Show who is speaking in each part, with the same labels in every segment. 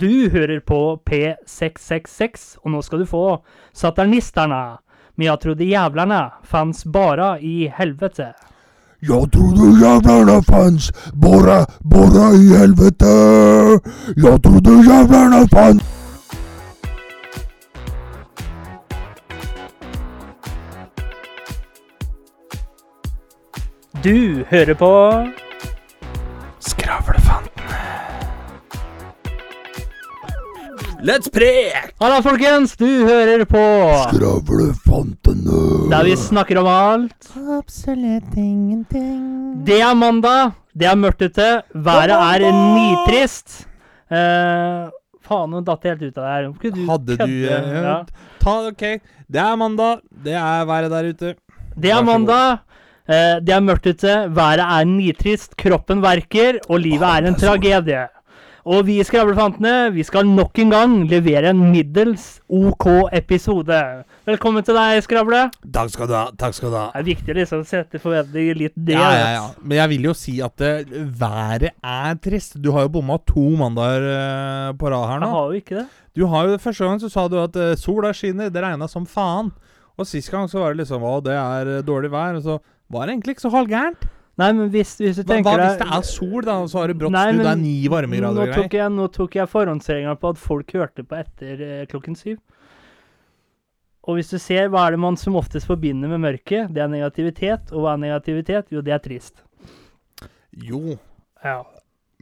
Speaker 1: Du hører på P666, og nå skal du få Satanisterna med Jag trodde jävlarna fanns bara i helvete.
Speaker 2: Jag trodde jävlarna fanns bara, bara i helvete. Jag trodde jävlarna fanns.
Speaker 1: Du hører på
Speaker 2: Skravlefantene. Let's prek!
Speaker 1: Halla, folkens! Du hører på
Speaker 2: Skravlefantene.
Speaker 1: der vi snakker om alt.
Speaker 2: Absolutt ingenting.
Speaker 1: Det er mandag, det er mørkt ute, været er nitrist. Eh, faen, nå datt jeg helt ut av det her. Kunne
Speaker 3: Hadde du
Speaker 1: kødde?
Speaker 3: eh,
Speaker 1: Ja.
Speaker 3: Ta, OK. Det er mandag. Det er været der ute.
Speaker 1: Det
Speaker 3: Vær
Speaker 1: er
Speaker 3: så
Speaker 1: mandag. eh, Det er mørkt ute, været er nitrist, kroppen verker, og livet er en tragedie. Og vi i Skravlefantene vi skal nok en gang levere en middels OK episode. Velkommen til deg, Skravle.
Speaker 3: Takk skal du ha. Takk skal du ha.
Speaker 1: Det er viktig liksom, å sette forventninger litt ned.
Speaker 3: Ja, ja, ja. Men jeg vil jo si at eh, været er trist. Du har jo bomma to mandager eh, på rad her
Speaker 1: Jeg
Speaker 3: nå.
Speaker 1: har jo ikke det.
Speaker 3: Du har jo Første gang så sa du at eh, sola skinner, det regna som faen. Og sist gang så var det liksom Å, det er eh, dårlig vær. Og så var det egentlig ikke så halvgærent.
Speaker 1: Nei, men hvis, hvis du
Speaker 3: Hva, hva
Speaker 1: tenker
Speaker 3: hvis det
Speaker 1: deg-
Speaker 3: er sol, da, og så har det brått
Speaker 1: Nei,
Speaker 3: snudd, det er
Speaker 1: men
Speaker 3: ni varmegrader
Speaker 1: Nå
Speaker 3: og
Speaker 1: tok
Speaker 3: greier?
Speaker 1: jeg, nå tok jeg forhåndsregninga på at folk hørte på etter eh, klokken syv. Og hvis du ser, hva er det man som oftest forbinder med mørket? Det er negativitet. Og hva er negativitet? Jo, det er trist.
Speaker 3: Jo,
Speaker 1: Ja.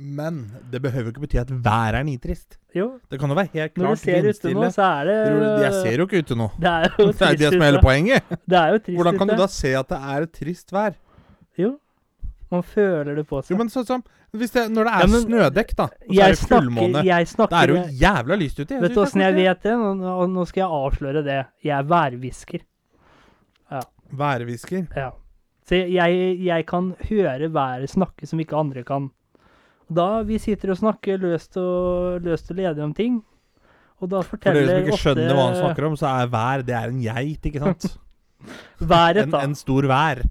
Speaker 3: men det behøver jo ikke bety at været er nitrist.
Speaker 1: Jo,
Speaker 3: Det kan jo være
Speaker 1: når
Speaker 3: helt
Speaker 1: du
Speaker 3: klart
Speaker 1: ser ute nå,
Speaker 3: vindstille.
Speaker 1: så er det
Speaker 3: Tror du, jeg ser jo ikke ute nå.
Speaker 1: Det er jo
Speaker 3: Det er
Speaker 1: trist
Speaker 3: det som er hele
Speaker 1: ute.
Speaker 3: poenget.
Speaker 1: Det er jo trist
Speaker 3: Hvordan kan du
Speaker 1: ute.
Speaker 3: da se at det er et trist vær?
Speaker 1: Jo. Man føler det på seg.
Speaker 3: Jo, men sånn som hvis det, Når det
Speaker 1: Ja,
Speaker 3: er
Speaker 1: men-
Speaker 3: snødekk, da, og så er
Speaker 1: jeg
Speaker 3: det fullmåne
Speaker 1: snakker, jeg
Speaker 3: Da er
Speaker 1: snakker
Speaker 3: det jo jævla lyst ute.
Speaker 1: Vet du åssen jeg vet det? Nå, nå, nå skal jeg avsløre det. Jeg er værhvisker.
Speaker 3: Værhvisker.
Speaker 1: Ja. Så jeg, jeg kan høre været snakke som ikke andre kan. Da vi sitter og snakker løst og, løst og ledig om ting, og da
Speaker 3: For dere som
Speaker 1: forteller
Speaker 3: ikke skjønner hva han
Speaker 1: ofte
Speaker 3: snakker om, så er vær det er en geit, ikke sant?
Speaker 1: været,
Speaker 3: En,
Speaker 1: da.
Speaker 3: en stor vær.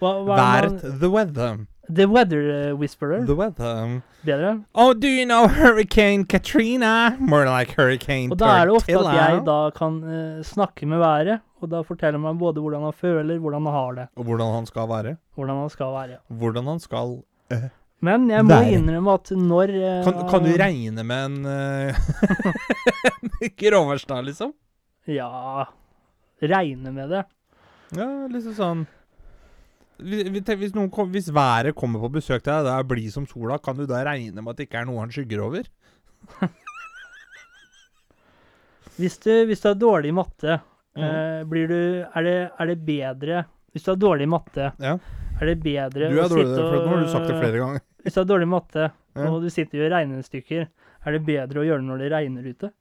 Speaker 1: Hva, hva er
Speaker 3: Været.
Speaker 1: man,
Speaker 3: The weather.
Speaker 1: the Weather Whisperer.
Speaker 3: The weather.
Speaker 1: Bedre.
Speaker 3: Oh, do you know Hurricane Katrina? More like Hurricane
Speaker 1: Og da er det ofte at
Speaker 3: Tortilla.
Speaker 1: jeg da kan eh, snakke med været, og da forteller man både hvordan han føler, hvordan han har det,
Speaker 3: Og hvordan han skal være.
Speaker 1: hvordan han skal være.
Speaker 3: Hvordan han skal
Speaker 1: Men jeg må
Speaker 3: Være.
Speaker 1: innrømme at når eh,
Speaker 3: Kan, kan du regne med en eh, en Gråværsdag, liksom?
Speaker 1: Ja Regne med det.
Speaker 3: Ja, liksom sånn hvis, hvis tenk- hvis, noen kom, hvis været kommer på besøk til deg, det er blid som sola, kan du da regne med at det ikke er noe han skygger over?
Speaker 1: Hvis du, hvis du er dårlig i matte,
Speaker 3: Mhm.
Speaker 1: eh, blir du er det, er det bedre Hvis du er dårlig i matte,
Speaker 3: Ja.
Speaker 1: er det bedre
Speaker 3: Du er
Speaker 1: å
Speaker 3: dårlig
Speaker 1: sitte
Speaker 3: der, for
Speaker 1: og-
Speaker 3: nå har du sagt det flere ganger.
Speaker 1: Hvis du er dårlig i matte,
Speaker 3: Ja.
Speaker 1: og du sitter og gjør regnestykker, er det bedre å gjøre det når det regner ute?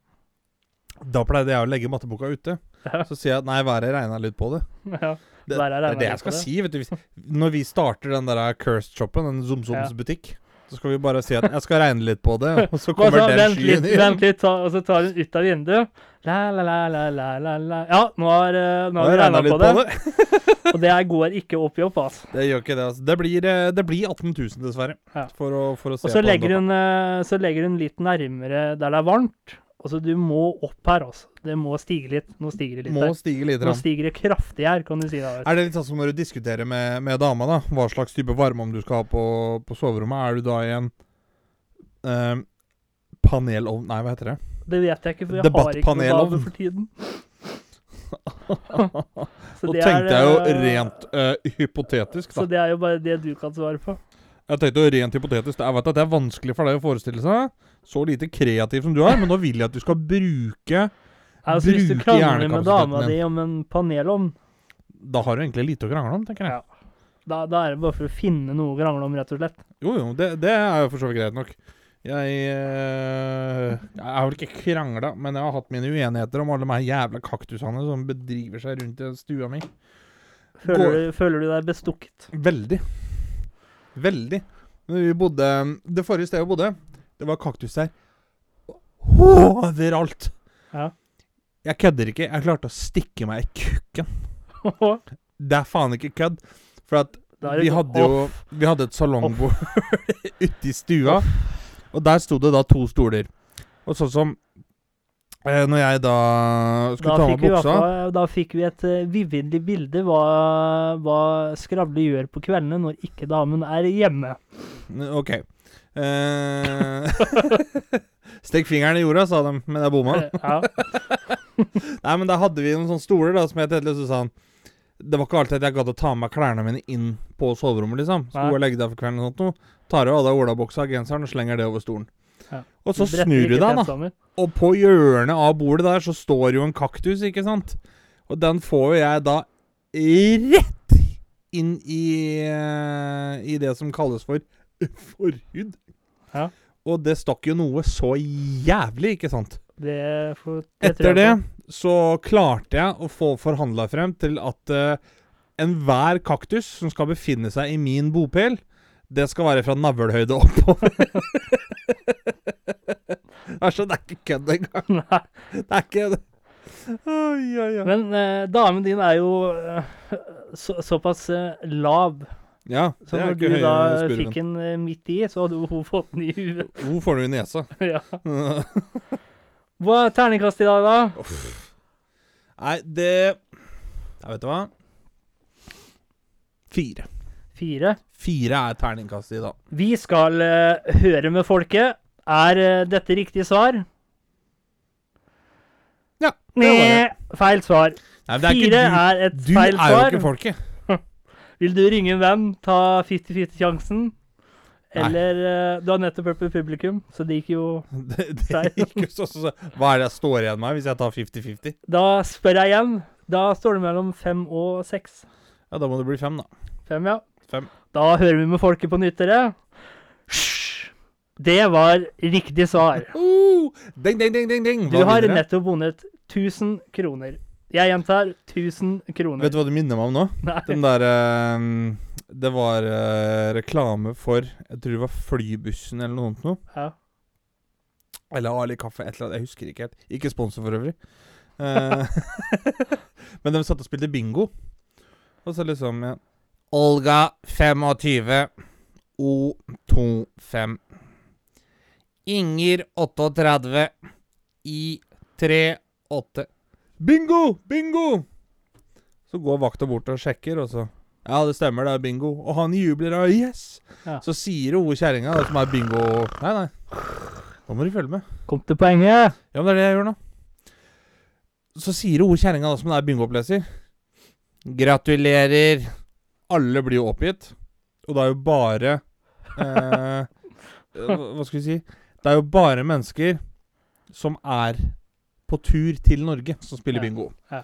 Speaker 3: Da pleide jeg å legge matteboka ute.
Speaker 1: Ja.
Speaker 3: Så sier jeg at nei, været regna litt på det.
Speaker 1: Ja.
Speaker 3: Det,
Speaker 1: Været
Speaker 3: det
Speaker 1: regnet
Speaker 3: er det
Speaker 1: litt på
Speaker 3: jeg skal
Speaker 1: det.
Speaker 3: si. vet du. Hvis, når vi starter den der cursed shoppen, den Zomsoms
Speaker 1: Ja.
Speaker 3: butikk, så skal vi bare si at jeg skal regne litt på det, og så
Speaker 1: Og
Speaker 3: kommer
Speaker 1: så
Speaker 3: den
Speaker 1: sånn, vent litt,
Speaker 3: skyen inn.
Speaker 1: vent litt, ta, og så tar hun ut av vinduet. La, la, la, la, la, la, la. Ja, nå har, eh, nå
Speaker 3: Nå
Speaker 1: har vi
Speaker 3: regnet
Speaker 1: regna på det, og det her går ikke opp i opp, altså.
Speaker 3: Det gjør ikke det, altså. Det blir, eh, det blir 18 000, dessverre.
Speaker 1: Ja.
Speaker 3: For, å, for å se
Speaker 1: Og så
Speaker 3: på
Speaker 1: legger,
Speaker 3: den.
Speaker 1: hun, eh, så legger hun litt nærmere der det er varmt. Altså, du må opp her, altså. Det må stige litt. Nå stiger det litt
Speaker 3: Må
Speaker 1: her.
Speaker 3: stige litt.
Speaker 1: Nå
Speaker 3: grann.
Speaker 1: stiger det kraftig her, kan du si. da. vet du.
Speaker 3: Er det litt sånn som når du diskuterer med, med dama, da? Hva slags type varmeovn du skal ha på, på soverommet? Er du da i en eh, panelovn Nei, hva heter det?
Speaker 1: Det vet jeg ikke, for jeg har ikke noe
Speaker 3: Debattpanelovn.
Speaker 1: gave for tiden. Så
Speaker 3: Nå
Speaker 1: det er,
Speaker 3: tenkte jeg jo
Speaker 1: eh,
Speaker 3: rent eh, hypotetisk,
Speaker 1: Så
Speaker 3: da.
Speaker 1: det er jo bare det du kan svare på.
Speaker 3: Jeg tenkte jo rent hypotetisk. Jeg vet at det er vanskelig for deg å forestille seg. Så lite kreativ som du er, men nå vil jeg at du skal bruke
Speaker 1: Altså, hvis du
Speaker 3: Bruke
Speaker 1: krangler med dama
Speaker 3: hjernekapasiteten
Speaker 1: di om en panelovn,
Speaker 3: Da har du egentlig lite å krangle om, tenker jeg.
Speaker 1: Ja. da, da er det bare for å finne noe å krangle om, rett og slett.
Speaker 3: Jo, jo, det, det er jo for så vidt greit nok. Jeg, eh, jeg har vel ikke krangla, men jeg har hatt mine uenigheter om alle de her jævla kaktusene som bedriver seg rundt i stua mi.
Speaker 1: Føler,
Speaker 3: Går-
Speaker 1: du, føler du deg bestukket?
Speaker 3: Veldig. Veldig. Når vi bodde Det forrige stedet vi bodde, det var kaktus der overalt.
Speaker 1: Ja.
Speaker 3: Jeg kødder ikke. Jeg klarte å stikke meg i kukken.
Speaker 1: da
Speaker 3: Det er faen ikke kødd. For at
Speaker 1: er det
Speaker 3: vi
Speaker 1: sånn,
Speaker 3: hadde jo
Speaker 1: «Off,
Speaker 3: Vi hadde et salongbord ute i stua, og der sto det da to stoler. Og sånn som eh, Når jeg da skulle
Speaker 1: Da fikk,
Speaker 3: ta av
Speaker 1: vi, i hvert
Speaker 3: buksa
Speaker 1: fall- da fikk vi et eh, vividlig bilde hva, hva skravle gjør på kveldene når ikke damen er hjemme.
Speaker 3: Ok. Eh, Stikk fingeren i jorda, sa de, men jeg bomma.
Speaker 1: Eh, Ja.
Speaker 3: Nei, men da hadde vi noen sånne stoler da, som het Edle, så sa han Det var ikke alltid at jeg gadd å ta med klærne mine inn på soverommet, liksom. Så
Speaker 1: Nei.
Speaker 3: gå og legge deg for kvelden og sånt noe. Tar av deg olabuksa og genseren og slenger det over stolen.
Speaker 1: Ja.
Speaker 3: Og så
Speaker 1: bretter
Speaker 3: snur du
Speaker 1: ikke
Speaker 3: deg, da.
Speaker 1: tennsammer.
Speaker 3: Og på hjørnet av bordet der så står jo en kaktus, ikke sant? Og den får jo jeg da rett inn i, eh, i det som kalles for forhud.
Speaker 1: Ja.
Speaker 3: Og det stakk jo noe så jævlig, ikke sant?
Speaker 1: Det, får- det tror
Speaker 3: Etter det
Speaker 1: jeg på.
Speaker 3: så klarte jeg å få forhandla frem til at eh, enhver kaktus som skal befinne seg i min bopel, det skal være fra navlehøyde oppover. altså, det er ikke kødd engang.
Speaker 1: Nei.
Speaker 3: Det er ikke det. Oi, oi, oi.
Speaker 1: Men eh, damen din er jo eh, så, såpass eh, lav,
Speaker 3: Ja,
Speaker 1: så
Speaker 3: det er
Speaker 1: når du
Speaker 3: ikke høyere
Speaker 1: da
Speaker 3: enn
Speaker 1: fikk
Speaker 3: spurven.
Speaker 1: den eh, midt i, så hadde hun fått den i huet.
Speaker 3: Hvor får du i nesa?
Speaker 1: ja. Hva er terningkast i dag, da?
Speaker 3: Nei, det Ja, vet du hva? Fire.
Speaker 1: Fire.
Speaker 3: Fire er terningkastet i dag.
Speaker 1: Vi skal eh, høre med folket. Er eh, dette riktig svar?
Speaker 3: Ja, det var det.
Speaker 1: Nei, feil svar.
Speaker 3: Nei, men det er ikke
Speaker 1: Fire
Speaker 3: du.
Speaker 1: er et
Speaker 3: Du
Speaker 1: feil
Speaker 3: er jo
Speaker 1: svar.
Speaker 3: ikke folket.
Speaker 1: Vil du ringe en venn, ta 50-50-sjansen?
Speaker 3: Nei.
Speaker 1: Eller eh, Du har nettopp hørt på publikum, så det gikk jo
Speaker 3: Det, det
Speaker 1: Nei.
Speaker 3: gikk jo så, så, så. Hva er det jeg står igjen med hvis jeg tar 50-50?
Speaker 1: Da spør jeg igjen. Da står det mellom fem og seks.
Speaker 3: Ja, da må det bli fem, da.
Speaker 1: Fem, ja.
Speaker 3: Fem.
Speaker 1: Da hører vi med folket på nytt, dere. Hysj! Det var riktig svar.
Speaker 3: Uh, ding, ding, ding, ding, ding.
Speaker 1: Du
Speaker 3: Hva
Speaker 1: har
Speaker 3: vinner jeg?
Speaker 1: nettopp vunnet 1000 kroner. Jeg gjentar 1000 kroner.
Speaker 3: Vet du hva det minner meg om nå?
Speaker 1: Nei.
Speaker 3: Den der eh, Det var eh, reklame for Jeg tror det var flybussen eller noe sånt noe.
Speaker 1: Ja.
Speaker 3: Eller Ali Kaffe, et eller annet. Jeg husker ikke helt. Ikke sponsor for øvrig. Eh, men de satt og spilte bingo. Og så liksom ja. Olga 25. O25. Inger 38. I38. Bingo! Bingo! Så går vakta bort og sjekker, og så Ja, det stemmer, det er bingo. Og han jubler og yes!
Speaker 1: Ja.
Speaker 3: Så sier hun kjerringa, det som er bingo Nei, nei. Nå må du følge med.
Speaker 1: Kom til poenget.
Speaker 3: Ja, men det er det jeg gjør nå. Så sier hun kjerringa da, som det er bingooppleser Gratulerer. Alle blir jo oppgitt. Og det er jo bare eh, Hva hva skal vi si? Det er jo bare mennesker som er på tur til Norge, som spiller
Speaker 1: Ja,
Speaker 3: bingo.
Speaker 1: ja.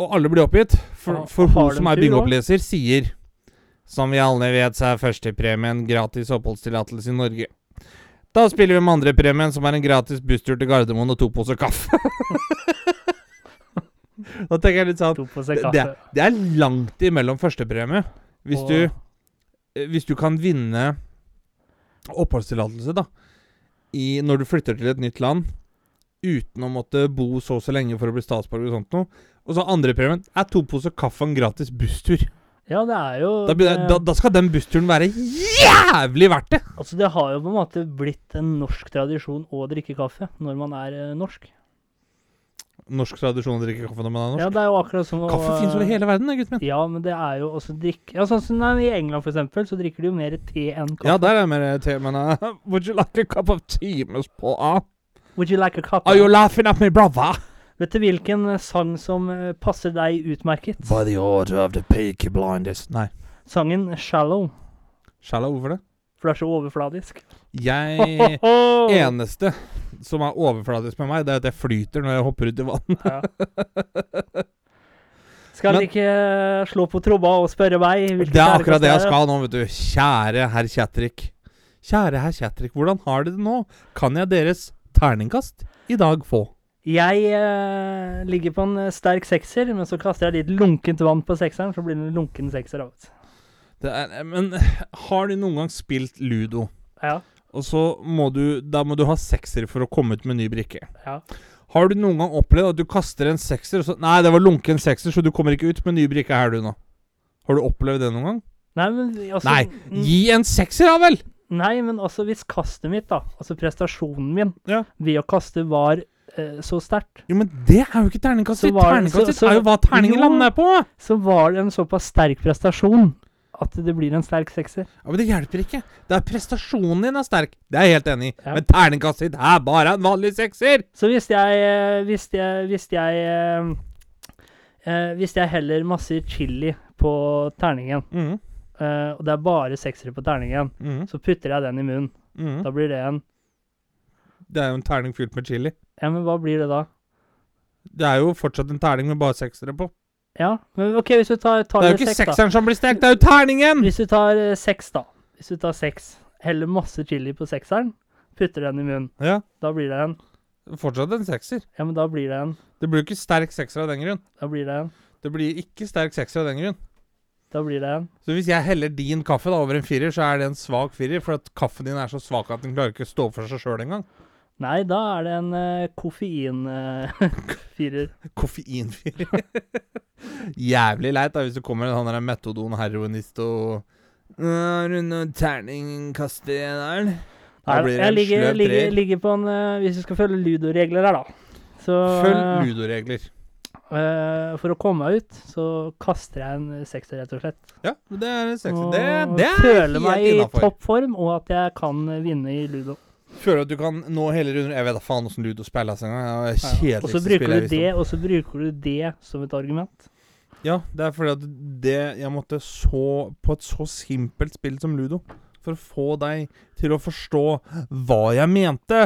Speaker 3: Og alle blir oppgitt, for,
Speaker 1: Og-
Speaker 3: for
Speaker 1: og har
Speaker 3: hun som
Speaker 1: de
Speaker 3: er
Speaker 1: tur også?
Speaker 3: bingooppleser, sier Som vi alle vet, så er førstepremien gratis oppholdstillatelse i Norge. Da spiller vi med andrepremien, som er en gratis busstur til Gardermoen og to poser kaffe. da tenker jeg litt sånn
Speaker 1: To på seg
Speaker 3: Det- det
Speaker 1: kaffe.
Speaker 3: Det er langt imellom førstepremie. Hvis,
Speaker 1: Og-
Speaker 3: du, eh, hvis du kan vinne oppholdstillatelse, da, i, når du flytter til et nytt land uten å måtte bo så og så lenge for å bli statsborger og sånt noe. Og så andrepremien er to poser kaffe og en gratis busstur.
Speaker 1: Ja, det er jo
Speaker 3: Da, begynner, jeg- da,
Speaker 1: det-
Speaker 3: da skal den bussturen være jævlig verdt det!
Speaker 1: Altså, det har jo på en måte blitt en norsk tradisjon å drikke kaffe når man er eh, norsk.
Speaker 3: Norsk tradisjon å drikke kaffe når man er norsk.
Speaker 1: Ja, eh, det er jo akkurat som å
Speaker 3: Kaffe finnes over hele verden, eh, gutten min.
Speaker 1: Ja, men det er jo også drikke Ja, sånn som nei, I England, for eksempel, så drikker de jo mer te enn kaffe.
Speaker 3: Ja, der er mer te, men uh, Would you like a cup of tea, Miss Paul? Ah?
Speaker 1: Would you like a cup?
Speaker 3: Are you laughing at me, brother?
Speaker 1: Vet du hvilken eh, sang som eh, passer deg utmerket?
Speaker 2: By the order of the Peaky Blinders.
Speaker 3: Nei.
Speaker 1: Sangen 'Shallow',
Speaker 3: Shallow, hvorfor det?
Speaker 1: for det er så overfladisk.
Speaker 3: Jeg
Speaker 1: Ho, ho!
Speaker 3: Eneste som er overfladisk med meg, det er at jeg flyter når jeg hopper ut i vann.
Speaker 1: Ja. Skal
Speaker 3: Men-
Speaker 1: men, ikke eh, slå på tromma og spørre meg? hvilken
Speaker 3: Det er akkurat det jeg
Speaker 1: terningkast er?
Speaker 3: skal nå, vet du. Kjære herr Kjatrik. Kjære herr Kjatrik, hvordan har dere det nå? Kan jeg deres terningkast i dag få?
Speaker 1: Jeg eh, ligger på en eh, sterk sekser, men så kaster jeg litt lunkent vann på sekseren, så blir det en lunken sekser av det.
Speaker 3: Det er, eh, men har du noen gang spilt ludo,
Speaker 1: Ja,
Speaker 3: og så må du Da må du ha sekser for å komme ut med ny brikke.
Speaker 1: ja.
Speaker 3: Har du noen gang opplevd at du kaster en sekser og så Nei, det var lunken sekser, så du kommer ikke ut med ny brikke her, du, nå. Har du opplevd det noen gang?
Speaker 1: Nei, men vi- altså
Speaker 3: Nei!
Speaker 1: n-
Speaker 3: Gi en sekser, da vel!
Speaker 1: Nei, men altså, hvis kastet mitt, da, altså prestasjonen min,
Speaker 3: Ja.
Speaker 1: ved å kaste var eh, så sterkt,
Speaker 3: Jo, men det er jo ikke terningkast
Speaker 1: Så
Speaker 3: ditt!
Speaker 1: var-
Speaker 3: Terningkast
Speaker 1: så-
Speaker 3: ditt
Speaker 1: så-
Speaker 3: er jo hva terningen
Speaker 1: Jo.
Speaker 3: lander på!
Speaker 1: så var det en såpass sterk prestasjon at det blir en sterk sekser.
Speaker 3: Ja, Men det hjelper ikke. Det er prestasjonen din er sterk. Det er jeg helt enig i.
Speaker 1: Ja.
Speaker 3: Men terningkastet ditt er bare en vanlig sekser!
Speaker 1: Så hvis jeg eh, Hvis jeg Hvis jeg, eh, eh, hvis jeg heller masse chili på terningen,
Speaker 3: Mm,
Speaker 1: eh, og det er bare seksere på terningen,
Speaker 3: mm,
Speaker 1: så putter jeg den i munnen.
Speaker 3: mm.
Speaker 1: Da blir det en
Speaker 3: Det er jo en terning fylt med chili.
Speaker 1: Ja, men hva blir det da?
Speaker 3: Det er jo fortsatt en terning med bare seksere på.
Speaker 1: Ja, men OK, hvis du tar, tar
Speaker 3: Det er jo ikke
Speaker 1: seks, da.
Speaker 3: sekseren som blir stekt, det er jo terningen!
Speaker 1: Hvis du tar eh, seks, da. Hvis du tar seks, heller masse chili på sekseren, putter den i munnen.
Speaker 3: Ja,
Speaker 1: Da blir det en
Speaker 3: fortsatt en sekser.
Speaker 1: Ja, men da blir det en
Speaker 3: Det blir jo ikke sterk sekser av den grunn.
Speaker 1: Da blir det en
Speaker 3: Det blir ikke sterk sekser av den grunn.
Speaker 1: Da blir det en
Speaker 3: Så hvis jeg heller din kaffe da over en firer, så er det en svak firer, for at kaffen din er så svak at den klarer ikke å stå for seg sjøl engang.
Speaker 1: Nei, da er det en eh, koffein eh, koffeinfirer.
Speaker 3: Koffeinfirer. Jævlig leit da hvis det kommer en sånn der metodon heroinist og «Øh, Runde terningkast i der. Da blir det
Speaker 1: jeg
Speaker 3: en
Speaker 1: ligger,
Speaker 3: sløv
Speaker 1: ligger,
Speaker 3: treer.
Speaker 1: ligger på en eh, Hvis vi skal følge ludoregler her, da Så
Speaker 3: Følg ludoregler.
Speaker 1: eh, for å komme meg ut, så kaster jeg en eh, sekser, rett og slett.
Speaker 3: Ja, men det er en sekser.
Speaker 1: Og
Speaker 3: Det, det er
Speaker 1: føler meg
Speaker 3: helt
Speaker 1: i
Speaker 3: innafor.
Speaker 1: toppform, og at jeg kan eh, vinne i ludo.
Speaker 3: Føler at du kan nå heller under Jeg vet da faen åssen ludo spilles altså, engang. Det er
Speaker 1: Og så
Speaker 3: kjedeligste
Speaker 1: bruker du
Speaker 3: spillet jeg
Speaker 1: det,
Speaker 3: visste om.
Speaker 1: og så bruker du det som et argument.
Speaker 3: liksom. Ja, det er fordi at det Jeg måtte så på et så simpelt spill som ludo for å få deg til å forstå hva jeg mente.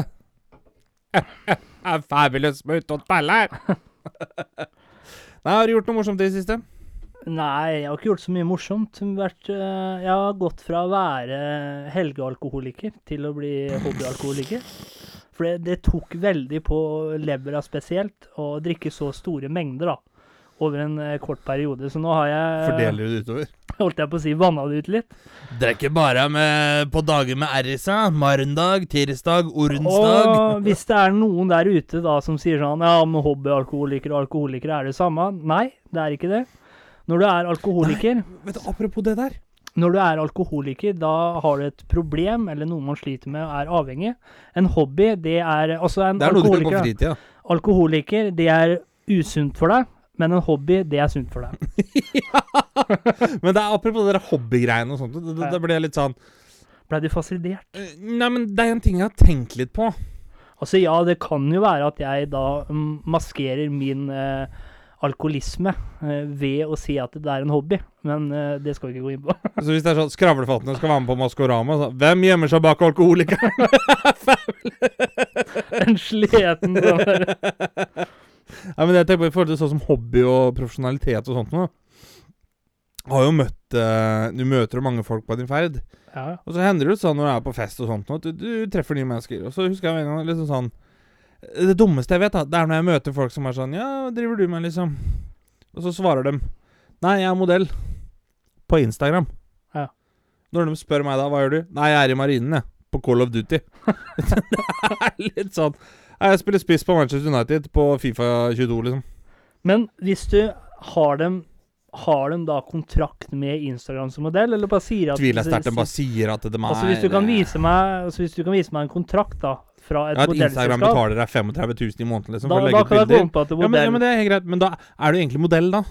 Speaker 3: Det er fabulous med ute og spille her. Nei, har du gjort noe morsomt i det siste?
Speaker 1: Nei, jeg har ikke gjort så mye morsomt. Jeg har Vært, eh, jeg har gått fra å være helgealkoholiker til å bli hobbyalkoholiker. For det, det tok veldig på levra spesielt å drikke så store mengder da, over en eh, kort periode. Så nå har jeg
Speaker 3: Fordeler du det utover?
Speaker 1: holdt jeg på å si, vanna det ut litt.
Speaker 3: Drikker bare på dager med RSA. Marendag, tirsdag,
Speaker 1: Og hvis det er noen der ute da som sier sånn ja, men hobbyalkoholikere og alkoholikere er det samme. Nei, det er ikke det. Når du er alkoholiker
Speaker 3: Vet du, apropos det der.
Speaker 1: Når du er alkoholiker, da har du et problem eller noe man sliter med og er avhengig. En hobby, det er Altså, en
Speaker 3: Det er noe du kan på
Speaker 1: alkoholiker,
Speaker 3: fritida.
Speaker 1: alkoholiker, det er usunt for deg, men en hobby, det er sunt for deg.
Speaker 3: Men det er apropos det der hobbygreiene og sånt. det- det-
Speaker 1: Ja.
Speaker 3: Da ble jeg litt sånn
Speaker 1: Blei du fasilitert?
Speaker 3: eh, Nei, men det er en ting jeg har tenkt litt på.
Speaker 1: Altså, ja, det kan jo være at jeg da mm, maskerer min eh, alkoholisme eh, ved å si at det er en hobby, men eh, det skal vi ikke gå inn på.
Speaker 3: Så hvis det er sånn skravlefattene skal være med på Maskorama, så Hvem gjemmer seg bak alkoholikeren?
Speaker 1: Den sleten sånn,
Speaker 3: Nei, men det jeg tenker på i forhold til sånn som hobby og profesjonalitet og sånt noe. Har jo møtt eh, Du møter jo mange folk på din ferd.
Speaker 1: ja.
Speaker 3: Og så hender det jo sånn når du er på fest og sånt nå, at du, du treffer nye mennesker. Og så husker jeg en gang liksom sånn Det dummeste jeg vet, da, det er når jeg møter folk som er sånn Ja, hva driver du med, liksom? Og så svarer de Nei, jeg er modell. På Instagram.
Speaker 1: Ja.
Speaker 3: Når de spør meg da, hva gjør du? Nei, jeg er i marinen, jeg. På Call of Duty. det er litt sånn Nei, jeg spiller spiss på Manchester United på Fifa 22, liksom.
Speaker 1: Men hvis du har dem har de da kontrakt med Instagram som modell, eller bare sier at
Speaker 3: Tviler jeg sterkt de bare sier at de er
Speaker 1: Altså hvis du kan vise meg altså hvis du kan vise meg en kontrakt da fra et
Speaker 3: ja, eh, At Instagram
Speaker 1: modellselskap,
Speaker 3: betaler deg 35 000 i måneden liksom,
Speaker 1: da,
Speaker 3: for å
Speaker 1: da
Speaker 3: legge ut
Speaker 1: kan jeg gå
Speaker 3: bilder.
Speaker 1: inn på at det er
Speaker 3: Ja men,
Speaker 1: modell.
Speaker 3: ja, men det er helt greit. Men da er du egentlig modell, da.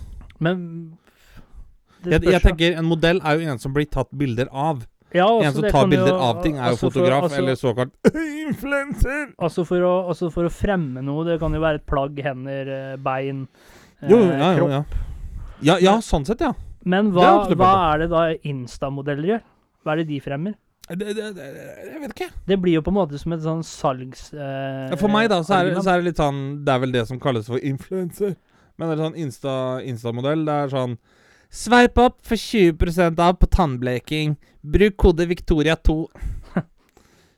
Speaker 1: men, det
Speaker 3: Jeg,
Speaker 1: spørs,
Speaker 3: jeg
Speaker 1: da.
Speaker 3: tenker En modell er jo en som blir tatt bilder av.
Speaker 1: Ja, altså,
Speaker 3: en som
Speaker 1: det
Speaker 3: tar
Speaker 1: kan jo-
Speaker 3: bilder av ting, er jo
Speaker 1: altså for-
Speaker 3: fotograf
Speaker 1: altså-
Speaker 3: eller såkalt influenser.
Speaker 1: Altså for, å, altså for å fremme noe, det kan jo være et plagg, hender, eh, bein, eh,
Speaker 3: Jo, ja, jo,
Speaker 1: kropp.
Speaker 3: ja. Ja, ja, sånn sett, ja.
Speaker 1: Men
Speaker 3: Det er
Speaker 1: hva,
Speaker 3: absolutt
Speaker 1: hva er det da Insta-modeller gjør? Hva er det de fremmer?
Speaker 3: Det, det, det, jeg vet ikke.
Speaker 1: Det blir jo på en måte som et sånn salgs... eh,
Speaker 3: Ja, For meg, da, så er,
Speaker 1: argument.
Speaker 3: det- så er det litt sånn Det er vel det som kalles for influenser. Men det er sånn Insta- Insta-modell. det er sånn Sveip opp for 20 av på tannbleking. Bruk kode Victoria2.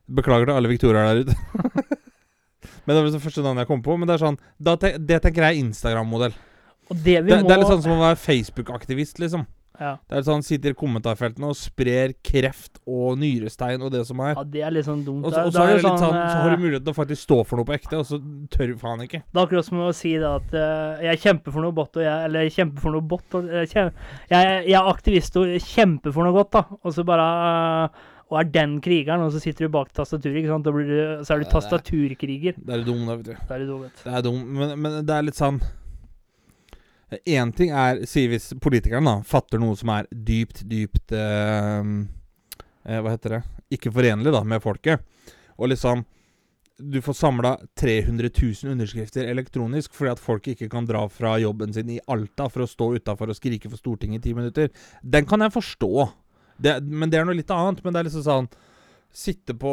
Speaker 3: Beklager til alle Victoriaer der ute. men Det var det første navnet jeg kom på. Men det er sånn da te Det tenker jeg er Instagram-modell.
Speaker 1: Og det vi
Speaker 3: Det,
Speaker 1: må
Speaker 3: det er litt sånn som å være Facebook-aktivist, liksom.
Speaker 1: ja.
Speaker 3: Det er litt sånn Sitter i kommentarfeltene og sprer kreft og nyrestein og det som er.
Speaker 1: ja, det er litt sånn dumt.
Speaker 3: Og
Speaker 1: Da-
Speaker 3: så, og
Speaker 1: da
Speaker 3: så er det
Speaker 1: jo
Speaker 3: litt sånn Så har
Speaker 1: eh,
Speaker 3: du mulighet til å faktisk stå for noe på ekte, og så tør du faen ikke.
Speaker 1: Det er akkurat som å si da at eh, jeg kjemper for noe bot, og jeg, eller jeg kjemper for noe bot, og jeg, kjem- jeg, jeg er aktivist og kjemper for noe godt, da. Og så bare eh, og er den krigeren, og så sitter du bak tastaturet, ikke sant? Da blir du, så er du
Speaker 3: Ja, det er-
Speaker 1: tastaturkriger.
Speaker 3: Det er dum, da, vet du.
Speaker 1: Da er du dum, vet du.
Speaker 3: Det er dum, men, men det er litt sånn Én ting er, sier hvis politikeren da, fatter noe som er dypt, dypt eh, eh, Hva heter det? Ikke forenlig da, med folket. Og liksom Du får samla 300 000 underskrifter elektronisk fordi at folk ikke kan dra fra jobben sin i Alta for å stå utafor og skrike for Stortinget i ti minutter. Den kan jeg forstå. Det, men det er noe litt annet. Men det er liksom sånn Sitte på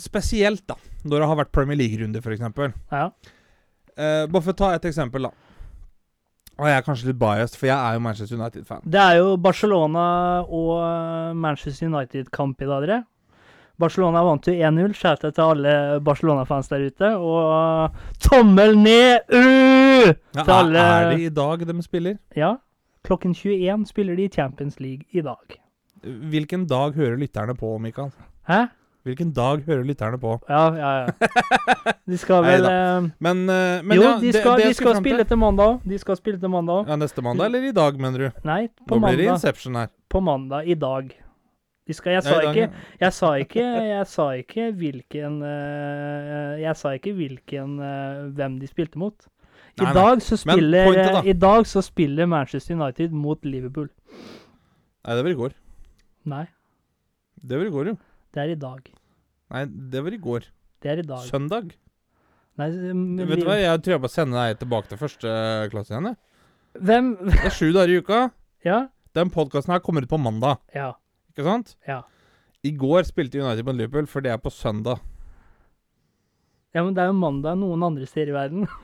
Speaker 3: Spesielt, da, når det har vært Premier League-runde, f.eks.
Speaker 1: Ja.
Speaker 3: Eh, bare for å ta et eksempel, da. Og jeg er kanskje litt biased, for jeg er jo Manchester United-fan.
Speaker 1: Det er jo Barcelona og eh, Manchester United-kamp i dag, dere. Barcelona vant jo 1-0. Shouta til alle Barcelona-fans der ute. Og eh, tommel ned! Uh!
Speaker 3: Ja,
Speaker 1: Til alle-
Speaker 3: Er det i dag de spiller?
Speaker 1: Ja, klokken 21 spiller de Champions League i dag.
Speaker 3: Hvilken dag hører lytterne på, Mikael?
Speaker 1: Hæ?
Speaker 3: Hvilken dag hører lytterne på?
Speaker 1: Ja, ja, ja. De skal vel eh,
Speaker 3: Men, eh, men
Speaker 1: Jo,
Speaker 3: ja,
Speaker 1: de skal,
Speaker 3: jeg
Speaker 1: de skal
Speaker 3: fram til-
Speaker 1: spille til mandag òg. De skal spille til mandag òg.
Speaker 3: ja, Neste mandag, eller i dag, mener du?
Speaker 1: Nei, på
Speaker 3: Nå blir det
Speaker 1: mandag.
Speaker 3: Inception her.
Speaker 1: På mandag i dag. De skal, jeg,
Speaker 3: Ja,
Speaker 1: sa
Speaker 3: i dag,
Speaker 1: ikke,
Speaker 3: ja.
Speaker 1: jeg sa ikke Jeg sa ikke hvilken eh, Jeg sa ikke hvilken eh, hvem de spilte mot. I
Speaker 3: Nei, nei.
Speaker 1: dag så
Speaker 3: Men
Speaker 1: spiller
Speaker 3: pointet da.
Speaker 1: I dag så spiller Manchester United mot Liverpool.
Speaker 3: Nei, det var i går.
Speaker 1: Nei,
Speaker 3: Det var i går, jo.
Speaker 1: det er i dag.
Speaker 3: Nei, det var i går.
Speaker 1: Det er i dag.
Speaker 3: Søndag.
Speaker 1: Nei, men
Speaker 3: Vet du
Speaker 1: Liv-
Speaker 3: hva, jeg tror jeg bare sender deg tilbake til første eh, klasse igjen, jeg.
Speaker 1: Hvem
Speaker 3: Det er sju dager i uka.
Speaker 1: Ja?
Speaker 3: Den podkasten her kommer ut på mandag,
Speaker 1: Ja.
Speaker 3: ikke sant?
Speaker 1: Ja.
Speaker 3: I går spilte United mot Liverpool, for det er på søndag.
Speaker 1: Ja, men det er jo mandag noen andre steder i verden.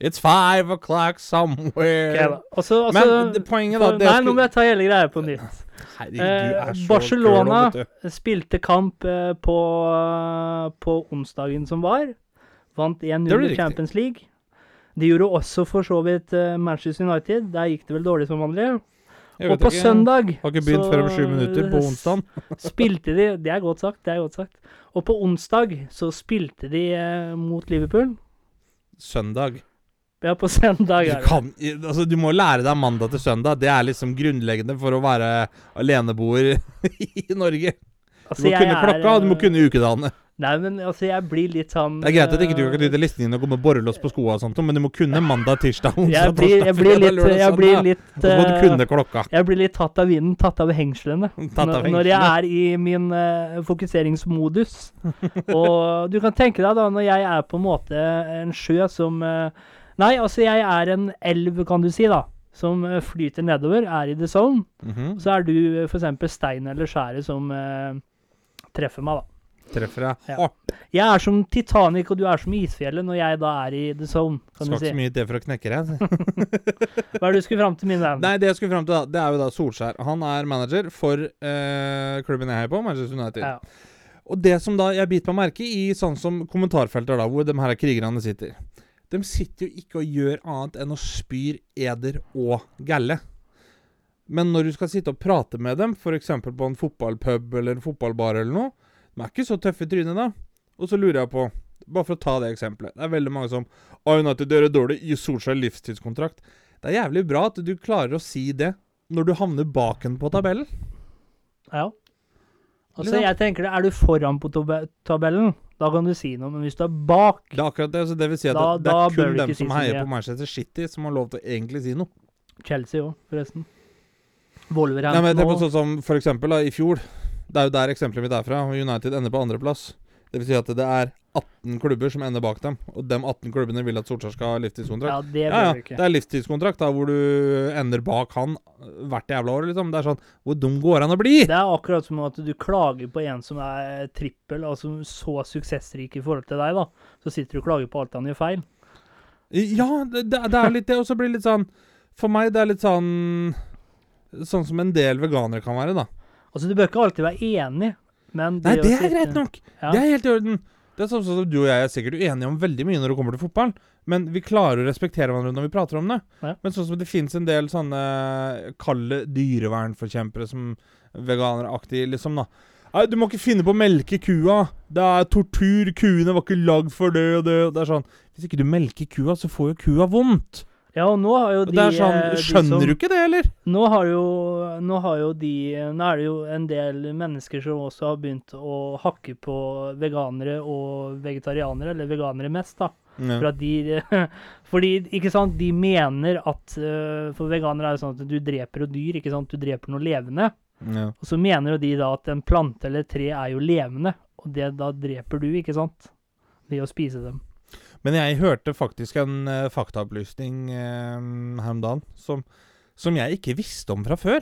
Speaker 3: It's five o'clock somewhere.
Speaker 1: Ok, da. Og så- og
Speaker 3: Men
Speaker 1: så-
Speaker 3: det, poenget, da
Speaker 1: for-
Speaker 3: det
Speaker 1: Nei, nå må jeg ta hele greia på nytt.
Speaker 3: Herregud, du er
Speaker 1: Eh,
Speaker 3: så
Speaker 1: Barcelona-
Speaker 3: curl, vet du.
Speaker 1: Spilte kamp eh, på, på onsdagen som var. Vant
Speaker 3: Det blir
Speaker 1: 1-0 i
Speaker 3: riktig.
Speaker 1: Champions League. De gjorde også for så vidt eh, Manchester United. Der gikk det vel dårlig som vanlig.
Speaker 3: Jeg
Speaker 1: Og
Speaker 3: vet
Speaker 1: på
Speaker 3: ikke,
Speaker 1: søndag
Speaker 3: Har ikke begynt
Speaker 1: så-
Speaker 3: før om sju minutter på onsdag.
Speaker 1: spilte de Det er godt sagt, det er godt sagt. Og på onsdag så spilte de eh, mot Liverpool.
Speaker 3: Søndag.
Speaker 1: Ja, på søndag
Speaker 3: Du,
Speaker 1: er det.
Speaker 3: kan, altså, du må lære deg mandag til søndag. Det er liksom grunnleggende for å være aleneboer i Norge. Du
Speaker 1: Altså,
Speaker 3: må
Speaker 1: jeg
Speaker 3: kunne
Speaker 1: er,
Speaker 3: klokka, og du må
Speaker 1: eh,
Speaker 3: kunne ukedagene.
Speaker 1: Nei, men altså, jeg blir litt sånn
Speaker 3: Det er greit at ikke du
Speaker 1: eh,
Speaker 3: kan rydde listen din og gå med borrelås på skoa og sånt, men du må kunne mandag, tirsdag,
Speaker 1: jeg
Speaker 3: onsdag,
Speaker 1: blir, jeg blir litt, jeg blir litt,
Speaker 3: sånn, Og så må du
Speaker 1: eh,
Speaker 3: kunne klokka.
Speaker 1: jeg blir litt tatt av vinden, tatt av hengslene.
Speaker 3: Tatt av
Speaker 1: Når- Når jeg
Speaker 3: hengslene.
Speaker 1: er i min eh, fokuseringsmodus. Og du kan tenke deg da, når jeg er på en måte en sjø som eh, Nei, altså jeg er en elv, kan du si, da. Som eh, flyter nedover, er i the zone.
Speaker 3: Mhm.
Speaker 1: Så er du f.eks. stein eller skjæret som eh, treffer meg, da.
Speaker 3: Treffer deg
Speaker 1: Ja.
Speaker 3: hardt.
Speaker 1: Jeg er som Titanic, og du er som isfjellet når jeg da er i the zone, kan
Speaker 3: Skal
Speaker 1: du
Speaker 3: ikke
Speaker 1: si.
Speaker 3: så mye til for å knekke deg.
Speaker 1: Hva er det du skulle fram til, min venn?
Speaker 3: Nei, det jeg skulle fram til, da, det er jo da Solskjær. Han er manager for eh, klubben jeg heier på, Manchester United.
Speaker 1: Ja.
Speaker 3: Og det som da jeg biter meg merke i, sånn som kommentarfelter, da, hvor de her krigerne sitter De sitter jo ikke og gjør annet enn å spyr eder og galle. Men når du skal sitte og prate med dem, f.eks. på en fotballpub eller en fotballbar eller noe De er ikke så tøffe i trynet, da. Og så lurer jeg på Bare for å ta det eksempelet. Det er veldig mange som Å, United, dere er dårlig. Gi Solskjær livstidskontrakt. Det er jævlig bra at du klarer å si det når du havner baken på tabellen.
Speaker 1: Ja. Altså,
Speaker 3: Liksom.
Speaker 1: jeg tenker det, er du foran på tabe- tabellen, da kan du si noe, men hvis du er bak
Speaker 3: Det er akkurat det. Så det vil si at
Speaker 1: Da-
Speaker 3: det, det
Speaker 1: da
Speaker 3: er
Speaker 1: bør
Speaker 3: kun
Speaker 1: du
Speaker 3: dem
Speaker 1: ikke si
Speaker 3: som
Speaker 1: så
Speaker 3: heier
Speaker 1: mye.
Speaker 3: på Manchester City, som har lov til å egentlig si noe.
Speaker 1: Chelsea òg, forresten.
Speaker 3: Nei, men
Speaker 1: Wolverhampton
Speaker 3: det er
Speaker 1: òg.
Speaker 3: sånn som for eksempel da, i fjor. Det er jo der eksempelet mitt er fra. og United ender på andreplass. Det vil si at det er 18 klubber som ender bak dem. Og de 18 klubbene vil at Solskjær skal ha livstidskontrakt.
Speaker 1: Ja, det
Speaker 3: Ja,
Speaker 1: bør
Speaker 3: ja.
Speaker 1: du
Speaker 3: Det
Speaker 1: ikke.
Speaker 3: er livstidskontrakt da, hvor du ender bak han hvert jævla år, liksom. Det er sånn Hvor dum går han å bli?
Speaker 1: Det er akkurat som at du klager på en som er trippel, altså så suksessrik i forhold til deg, da. Så sitter du og klager på alt han gjør feil.
Speaker 3: Ja, det, det det er jo litt det. Og så blir det litt sånn For meg, det er litt sånn Sånn som en del veganere kan være, da.
Speaker 1: Altså, du bør ikke alltid være enig, men
Speaker 3: Nei,
Speaker 1: gjør
Speaker 3: det
Speaker 1: sitt-
Speaker 3: er greit nok.
Speaker 1: Ja.
Speaker 3: Det er helt i orden. Det er sånn som Du og jeg er sikkert uenige om veldig mye når det kommer til fotball, men vi klarer å respektere hverandre når vi prater om det.
Speaker 1: Ja.
Speaker 3: Men sånn som det fins en del sånne kalde dyrevernforkjempere som veganeraktige, liksom, da. Nei, du må ikke finne på å melke kua. Det er tortur. Kuene var ikke lagd for det og det. og Det er sånn Hvis ikke du melker kua, så får jo kua vondt.
Speaker 1: Ja, og nå har jo
Speaker 3: Og
Speaker 1: de
Speaker 3: det er sånn,
Speaker 1: eh, de som-
Speaker 3: Skjønner du ikke det, eller?
Speaker 1: Nå har, jo, nå har jo de Nå er det jo en del mennesker som også har begynt å hakke på veganere og vegetarianere, eller veganere mest, da. For at de Fordi, ikke sant, de mener at eh, For veganere er jo sånn at du dreper jo dyr, ikke sant. Du dreper noe levende.
Speaker 3: Ja.
Speaker 1: Og så mener jo de da at en plante eller et tre er jo levende, og det da dreper du, ikke sant? Ved å spise dem.
Speaker 3: Men jeg hørte faktisk en eh, faktaopplysning eh, her om dagen som, som jeg ikke visste om fra før.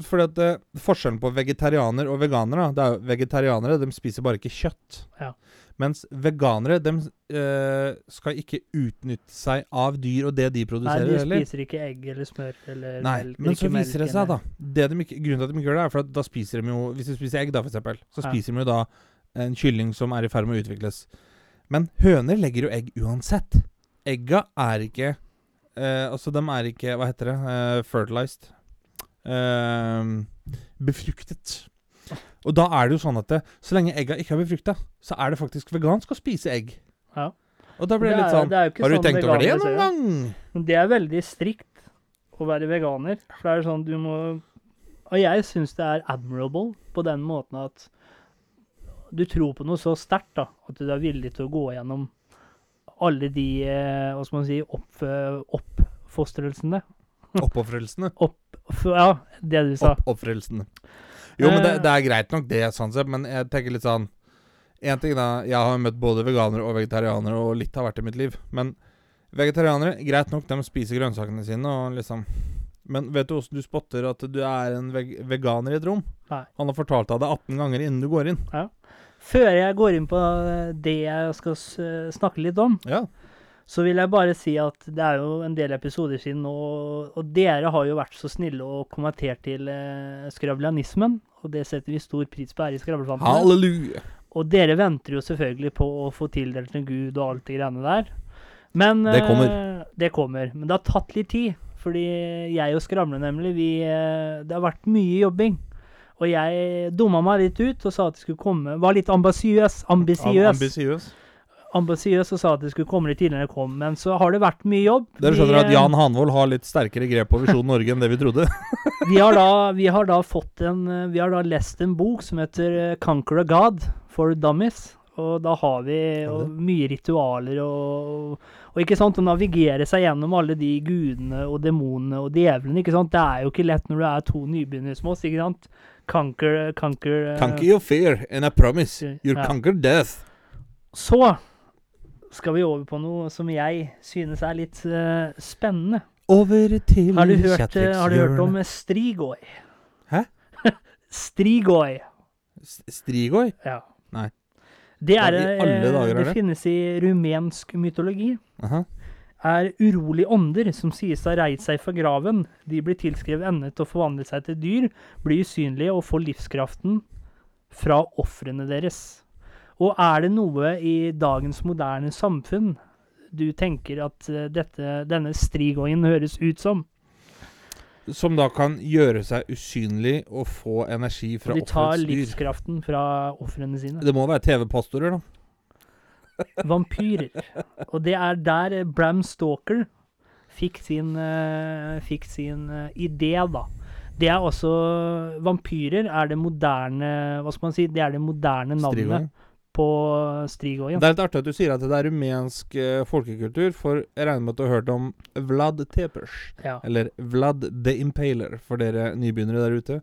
Speaker 3: Fordi at eh, forskjellen på vegetarianer og veganere da, det er jo Vegetarianere de spiser bare ikke kjøtt.
Speaker 1: Ja.
Speaker 3: Mens veganere de eh, skal ikke utnytte seg av dyr og det de
Speaker 1: Nei,
Speaker 3: produserer.
Speaker 1: de
Speaker 3: eller?
Speaker 1: spiser ikke egg eller smør eller
Speaker 3: Nei,
Speaker 1: melk.
Speaker 3: men så
Speaker 1: drikker melk
Speaker 3: viser det seg,
Speaker 1: eller-
Speaker 3: da det de ikke, Grunnen til at de ikke gjør det, er for at da spiser de jo Hvis de spiser egg, da, for eksempel, så
Speaker 1: Ja.
Speaker 3: spiser de jo da en kylling som er i ferd med å utvikles. Men høner legger jo egg uansett. Egga er ikke eh, Altså, de er ikke Hva heter det? Eh, fertilized. Eh, befruktet. Og da er det jo sånn at det, så lenge egga ikke er befrukta, så er det faktisk vegansk å spise egg.
Speaker 1: Ja.
Speaker 3: Og da blir det
Speaker 1: Det
Speaker 3: litt
Speaker 1: er-
Speaker 3: sånn
Speaker 1: det er jo ikke
Speaker 3: Har du
Speaker 1: sånn
Speaker 3: tenkt over det
Speaker 1: veganere ser det.
Speaker 3: noen gang?
Speaker 1: Men det er veldig strikt å være veganer. For det er sånn du må Og jeg syns det er admirable på den måten at du tror på noe så sterkt da, at du er villig til å gå gjennom alle de eh, hva skal man si, opp, oppfostrelsene.
Speaker 3: Oppofrelsene.
Speaker 1: F- Ja, det du sa.
Speaker 3: Opp, oppfrelsen. Jo, men det,
Speaker 1: Eh.
Speaker 3: det er greit nok, det, sånn sett, men jeg tenker litt sånn En ting da, Jeg har møtt både veganere og vegetarianere, og litt har vært i mitt liv. Men vegetarianere, greit nok, de spiser grønnsakene sine og liksom Men vet du åssen du spotter at du er en veg veganer i et rom?
Speaker 1: Nei.
Speaker 3: Han har fortalt deg det 18 ganger innen du går inn.
Speaker 1: Før jeg går inn på eh, det jeg skal s- eh, snakke litt om,
Speaker 3: Ja.
Speaker 1: så vil jeg bare si at det er jo en del episoder siden, og, og dere har jo vært så snille og kommentert til eh, skravlianismen, og det setter vi stor pris på her i Skravlefantene.
Speaker 3: Halleluja.
Speaker 1: Og dere venter jo selvfølgelig på å få tildelt en gud og alt de greiene der. Men
Speaker 3: Det
Speaker 1: eh,
Speaker 3: kommer.
Speaker 1: det kommer. Men det har tatt litt tid, fordi jeg og Skravle nemlig, vi eh, Det har vært mye jobbing. Og jeg dumma meg litt ut og sa at jeg skulle komme Var litt ambisiøs. Ambisiøs
Speaker 3: Ambisiøs.
Speaker 1: ambisiøs og sa at det skulle komme litt tidligere enn det kom, men så har det vært mye jobb.
Speaker 3: Dere
Speaker 1: Vi,
Speaker 3: skjønner at
Speaker 1: eh,
Speaker 3: Jan Hanvold har litt sterkere grep på Visjon Norge enn det vi trodde?
Speaker 1: eh, vi, har da, vi har da fått en eh, Vi har da lest en bok som heter eh, 'Conquer a God for Dummies'. Og da har vi og mye ritualer og, og ikke sant, å navigere seg gjennom alle de gudene og demonene og djevlene. ikke sant, Det er jo ikke lett når du er to nybegynnere som oss. ikke sant, Conquer, conquer, eh,
Speaker 3: Conquer your fear, and I promise you'll
Speaker 1: Ja.
Speaker 3: conquer death.
Speaker 1: Så skal vi over på noe som jeg synes er litt eh, spennende.
Speaker 3: Over til
Speaker 1: Har du hørt, eh, har du hørt om Strigoi?
Speaker 3: Hæ?
Speaker 1: Strigoi.
Speaker 3: S- Strigoi?
Speaker 1: Ja.
Speaker 3: Nei.
Speaker 1: Det,
Speaker 3: Hva
Speaker 1: er,
Speaker 3: i alle
Speaker 1: eh,
Speaker 3: dager er
Speaker 1: det,
Speaker 3: det?
Speaker 1: finnes i rumensk mytologi.
Speaker 3: Aha.
Speaker 1: Er urolige ånder som sies å ha reist seg fra graven. De blir tilskrevet evne til å forvandle seg til dyr, blir usynlige og får livskraften fra ofrene deres. Og er det noe i dagens moderne samfunn du tenker at eh, dette, denne strigoien høres ut som?
Speaker 3: Som da kan gjøre seg usynlig og få energi fra
Speaker 1: De tar
Speaker 3: offerets dyr.
Speaker 1: livskraften fra ofrene sine.
Speaker 3: Det må være TV-pastorer, da.
Speaker 1: Vampyrer. Og det er der eh, Bram Stalker fikk sin, eh, fikk sin eh, idé, da. Det er også Vampyrer er det moderne Hva skal man si? Det er det moderne navnet
Speaker 3: Strigoi.
Speaker 1: på eh, Strigoyen.
Speaker 3: Det er litt artig at du sier at det er rumensk eh, folkekultur, for jeg regner med at du har hørt om Vlad Tepers.
Speaker 1: Ja.
Speaker 3: Eller Vlad the Impaler, for dere nybegynnere der ute.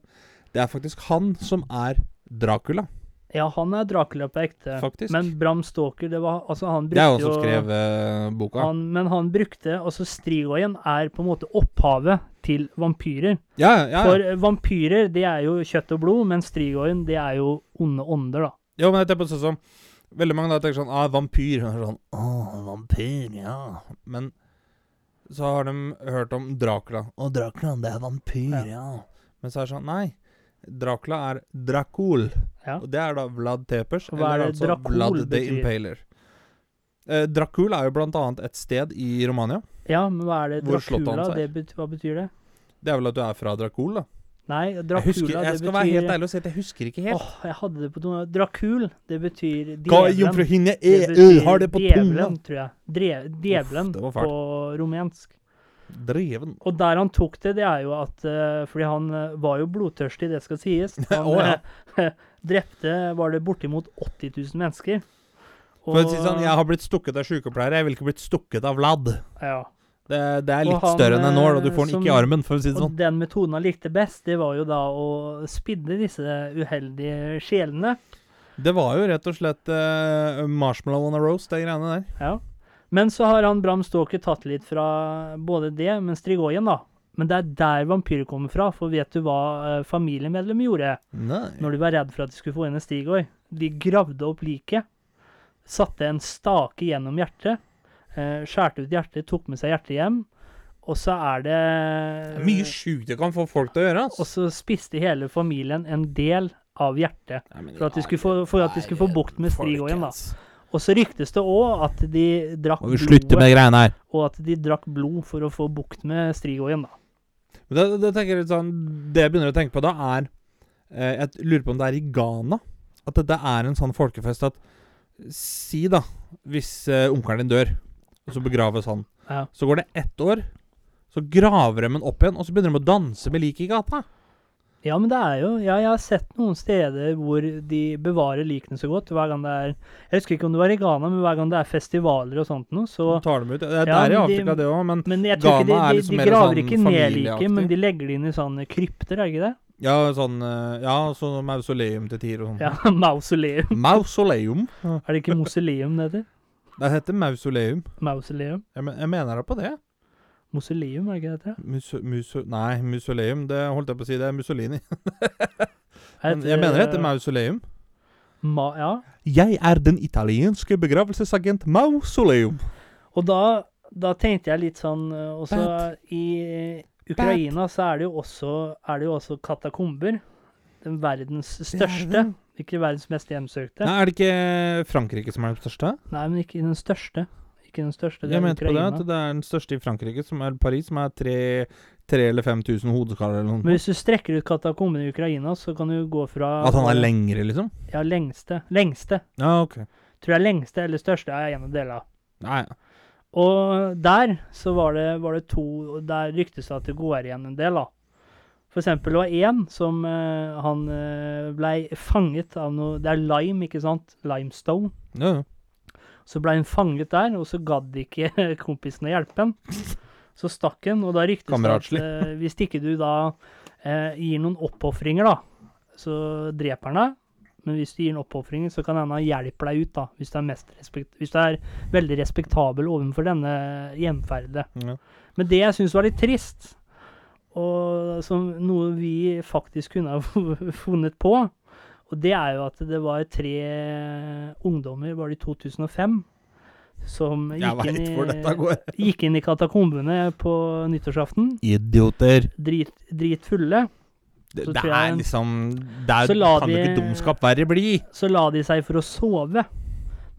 Speaker 3: Det er faktisk han som er Dracula,
Speaker 1: ja, han er Dracula på ekte.
Speaker 3: faktisk.
Speaker 1: Men Bram Stalker, det var Altså, han
Speaker 3: det er
Speaker 1: brukte
Speaker 3: jo han som skrev eh, boka.
Speaker 1: han, Men han brukte Altså, Strigoyen er på en måte opphavet til vampyrer.
Speaker 3: ja, ja, ja.
Speaker 1: For eh, vampyrer, det er jo kjøtt og blod, men Strigoyen, det er jo onde ånder, da.
Speaker 3: Jo, men jeg tenker på sånn som Veldig mange da tenker sånn ah, vampyr. Og Sånn, Å, vampyr, ja. Men så har de hørt om Dracula. Å, Dracula, det er vampyr,
Speaker 1: Ja.
Speaker 3: ja. Men så er det sånn Nei. Dracula er Dracul.
Speaker 1: Ja.
Speaker 3: Og det er da Vlad Tepers. altså
Speaker 1: Og hva er det Dracul
Speaker 3: Vlad the
Speaker 1: betyr?
Speaker 3: Impaler. Eh, Dracul er jo blant annet et sted i Romania.
Speaker 1: Ja, men hva er det
Speaker 3: Hvor slottet
Speaker 1: Dracula?
Speaker 3: hans er.
Speaker 1: Det bet hva betyr det?
Speaker 3: Det er vel at du er fra Dracul, da.
Speaker 1: Nei, Dracula,
Speaker 3: Jeg, husker,
Speaker 1: det
Speaker 3: jeg skal være
Speaker 1: betyr
Speaker 3: helt ærlig og si at jeg husker ikke helt.
Speaker 1: Åh, jeg hadde det på tunga. Dracul, det betyr
Speaker 3: Hva
Speaker 1: djevelen.
Speaker 3: jomfruhinne
Speaker 1: Det
Speaker 3: er,
Speaker 1: betyr
Speaker 3: har det på tunga?
Speaker 1: Djevelen, tror jeg. Dre, djevelen
Speaker 3: Uff, det var
Speaker 1: på
Speaker 3: fælt.
Speaker 1: rumensk.
Speaker 3: Dreven.
Speaker 1: Og der han tok det, det er jo at eh, Fordi han eh, var jo blodtørstig, det skal sies. Han
Speaker 3: Å,
Speaker 1: eh, drepte Var det bortimot 80 000 mennesker?
Speaker 3: For å si det sånn, jeg har blitt stukket av sykepleiere, jeg ville ikke blitt stukket av Vlad.
Speaker 1: ja.
Speaker 3: Det, det er
Speaker 1: Og
Speaker 3: litt
Speaker 1: han, eh,
Speaker 3: større enn en nål, og du får den
Speaker 1: som-
Speaker 3: ikke i armen, for å si det
Speaker 1: Og
Speaker 3: sånn.
Speaker 1: den metoden han likte best, det var jo da å spidde disse uheldige sjelene.
Speaker 3: Det var jo rett og slett eh, marshmallow on a roast, de greiene der.
Speaker 1: Ja. Men så har han Bram Stoker tatt litt fra både det, men Strigoi-en da. Men det er der vampyrer kommer fra, for vet du hva eh, familiemedlemmer gjorde
Speaker 3: Nei.
Speaker 1: når de var redd for at de skulle få inn en Strigoi? De gravde opp liket, satte en stake gjennom hjertet, eh, skjærte ut hjertet, tok med seg hjertet hjem, og så er det
Speaker 3: Det er mye sjukt det kan få folk til å gjøre,
Speaker 1: Og
Speaker 3: altså.
Speaker 1: så spiste hele familien en del av hjertet. for at de skulle få- for at de skulle få bukt med Strigoi-en, da. Og så ryktes det òg at de drakk
Speaker 3: Må vi slutte med de greiene her?
Speaker 1: og at de drakk blod for å få bukt med Strigoi-en, da.
Speaker 3: Men da, da tenker jeg litt sånn Det jeg begynner å tenke på da, er eh, Jeg lurer på om det er i Ghana at dette er en sånn folkefest at Si, da, hvis eh, onkelen din dør, og så begraves han.
Speaker 1: Ja.
Speaker 3: Så går det ett år, så graver de ham opp igjen, og så begynner de å danse med liket i gata.
Speaker 1: Ja, men det er jo Ja, jeg har sett noen steder hvor de bevarer likene så godt. Hver gang det er Jeg husker ikke om det var i Ghana, men hver gang det er festivaler og sånt noe, så
Speaker 3: Så tar de ut. Det er
Speaker 1: Ja,
Speaker 3: der i
Speaker 1: men de-
Speaker 3: Afrika, det òg, men
Speaker 1: Men jeg tror ikke
Speaker 3: Ghana er
Speaker 1: de, de,
Speaker 3: liksom
Speaker 1: de
Speaker 3: mer
Speaker 1: graver
Speaker 3: sånn
Speaker 1: ikke ned
Speaker 3: familieaktig.
Speaker 1: liket, men de legger det inn i sånne krypter, er det ikke det?
Speaker 3: Ja, sånn eh, Ja, sånn mausoleum til tider og sånn.
Speaker 1: Ja, mausoleum.
Speaker 3: Mausoleum?
Speaker 1: Er det ikke mausoleum det heter?
Speaker 3: Det heter mausoleum.
Speaker 1: Mausoleum?
Speaker 3: Jeg, men, jeg mener da på det.
Speaker 1: Mausoleum, er det ikke det heter?
Speaker 3: Muso, muso, nei, mausoleum Det holdt jeg på å si. Det er Mussolini. Men
Speaker 1: heter?
Speaker 3: jeg mener det
Speaker 1: eh,
Speaker 3: heter mausoleum.
Speaker 1: ma ja.
Speaker 3: Jeg er den italienske begravelsesagent Mausoleum.
Speaker 1: Og da, da tenkte jeg litt sånn eh, også I Ukraina så er det jo også, er det jo også katakomber. Den verdens største. Ikke verdens mest hjemsøkte.
Speaker 3: Nei,
Speaker 1: Nei.
Speaker 3: er det ikke Frankrike som er den største?
Speaker 1: men ikke den største. Ikke den største, det er
Speaker 3: Jeg mente på det
Speaker 1: Ukraina.
Speaker 3: at det er den største i Frankrike, som er Paris, som er tre, tre eller 5000 hodeskaller eller
Speaker 1: Men
Speaker 3: noe.
Speaker 1: hvis du strekker ut katakomben i Ukraina, så kan du gå fra
Speaker 3: At han er lengre, liksom?
Speaker 1: Ja, lengste. Lengste.
Speaker 3: Ja, ok.
Speaker 1: Tror jeg lengste eller største er en av delene.
Speaker 3: Nei, ja.
Speaker 1: Og der så var det, var det to og Der ryktes det at det går igjen en del, da. For eksempel det var én som eh, han eh, blei fanget av noe Det er lime, ikke sant? Limestone.
Speaker 3: ja, ja.
Speaker 1: Så blei han fanget der, og så gadd ikke kompisen å hjelpe han. Så stakk han, og da ryktes det at
Speaker 3: Kameratslig.
Speaker 1: eh, hvis ikke du da eh, gir noen oppofringer, da, så dreper han deg. Men hvis du gir en oppofring, så kan hende han hjelper deg ut, da. Hvis du er, mest respekt hvis du er veldig respektabel overfor denne hjemferdet.
Speaker 3: ja.
Speaker 1: Men det jeg syns var litt trist, og som noe vi faktisk kunne ha funnet på, og det er jo at det var tre ungdommer, var det i 2005, som
Speaker 3: Jeg
Speaker 1: gikk inn
Speaker 3: veit hvor dette
Speaker 1: i,
Speaker 3: går.
Speaker 1: gikk inn i katakombene på nyttårsaften,
Speaker 3: Idioter.
Speaker 1: drit, dritfulle.
Speaker 3: Det,
Speaker 1: Så
Speaker 3: det
Speaker 1: tror jeg-
Speaker 3: er liksom Det er,
Speaker 1: Så la
Speaker 3: kan jo ikke
Speaker 1: de-
Speaker 3: dumskap verre bli.
Speaker 1: Så la de seg for å sove,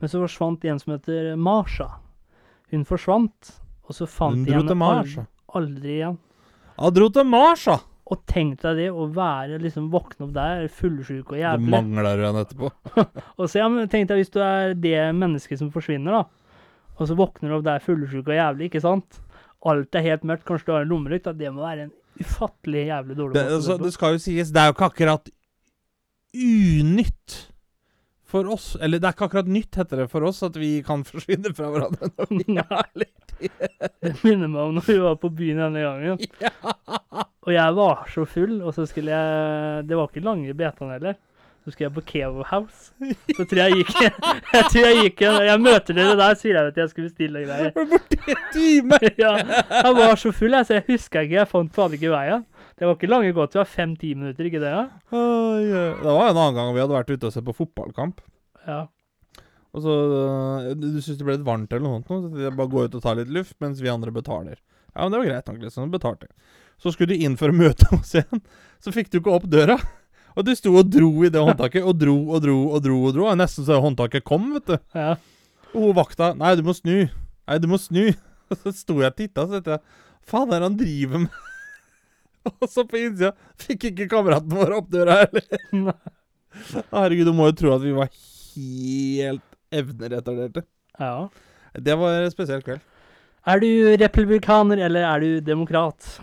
Speaker 1: men så forsvant en som heter Marsha. Hun forsvant, og så fant
Speaker 3: Hun
Speaker 1: de
Speaker 3: dro
Speaker 1: henne
Speaker 3: til Mars.
Speaker 1: al- aldri igjen.
Speaker 3: Han dro til Mars, da!
Speaker 1: Og tenk deg det, å være liksom våkne opp der, fullsjuk og
Speaker 3: Så
Speaker 1: jævlig.
Speaker 3: mangler du henne etterpå.
Speaker 1: Og så ja, men tenk deg hvis du er det mennesket som forsvinner, da. Og så våkner du opp der fullsjuk og jævlig, ikke sant? Alt er helt mørkt, kanskje du har en lommelykt. Da. Det må være en ufattelig jævlig dårlig
Speaker 3: Det,
Speaker 1: måte å
Speaker 3: altså,
Speaker 1: dø på.
Speaker 3: det skal jo sies, det er jo ikke akkurat unytt for oss. Eller det er ikke akkurat nytt, heter det, for oss at vi kan forsvinne fra hverandre. når vi
Speaker 1: Ja.
Speaker 3: er litt-
Speaker 1: Det minner meg om når vi var på byen denne gangen. Og jeg var så full, og så skulle jeg Det var ikke lange betene heller. Så skulle jeg på Kevo House. Så tror jeg jeg gikk Jeg tror jeg gikk Jeg møter dere der, sier jeg vet jeg skulle bestille greier.
Speaker 3: Var borte i en time!
Speaker 1: ja, jeg var så full, jeg, så jeg husker ikke. Jeg fant faen ikke veien. Det var ikke lange gåtur, det var fem-ti minutter, ikke det? Ja?
Speaker 3: Oi, oi. Det var en annen gang vi hadde vært ute og sett på fotballkamp.
Speaker 1: Ja.
Speaker 3: Og så øh, Du syns det ble litt varmt eller noe sånt, nå, så jeg bare gå ut og ta litt luft mens vi andre betaler. Ja, men det var greit nok, liksom. Betalte. Så skulle du inn for å møte oss igjen. Så fikk du ikke opp døra. Og du sto og dro i det håndtaket, og dro og dro og dro. og dro. Og nesten så håndtaket kom, vet du.
Speaker 1: ja.
Speaker 3: Og hun vakta Nei, du må snu. Nei, du må snu. Og så sto jeg og titta, så tenkte jeg Faen, hva er det han driver med? Og så på innsida fikk ikke kameraten vår opp døra heller.
Speaker 1: Nei.
Speaker 3: Herregud, du må jo tro at vi var helt evneretarderte.
Speaker 1: Ja.
Speaker 3: Det var en spesiell kveld.
Speaker 1: Er du republikaner, eller er du demokrat?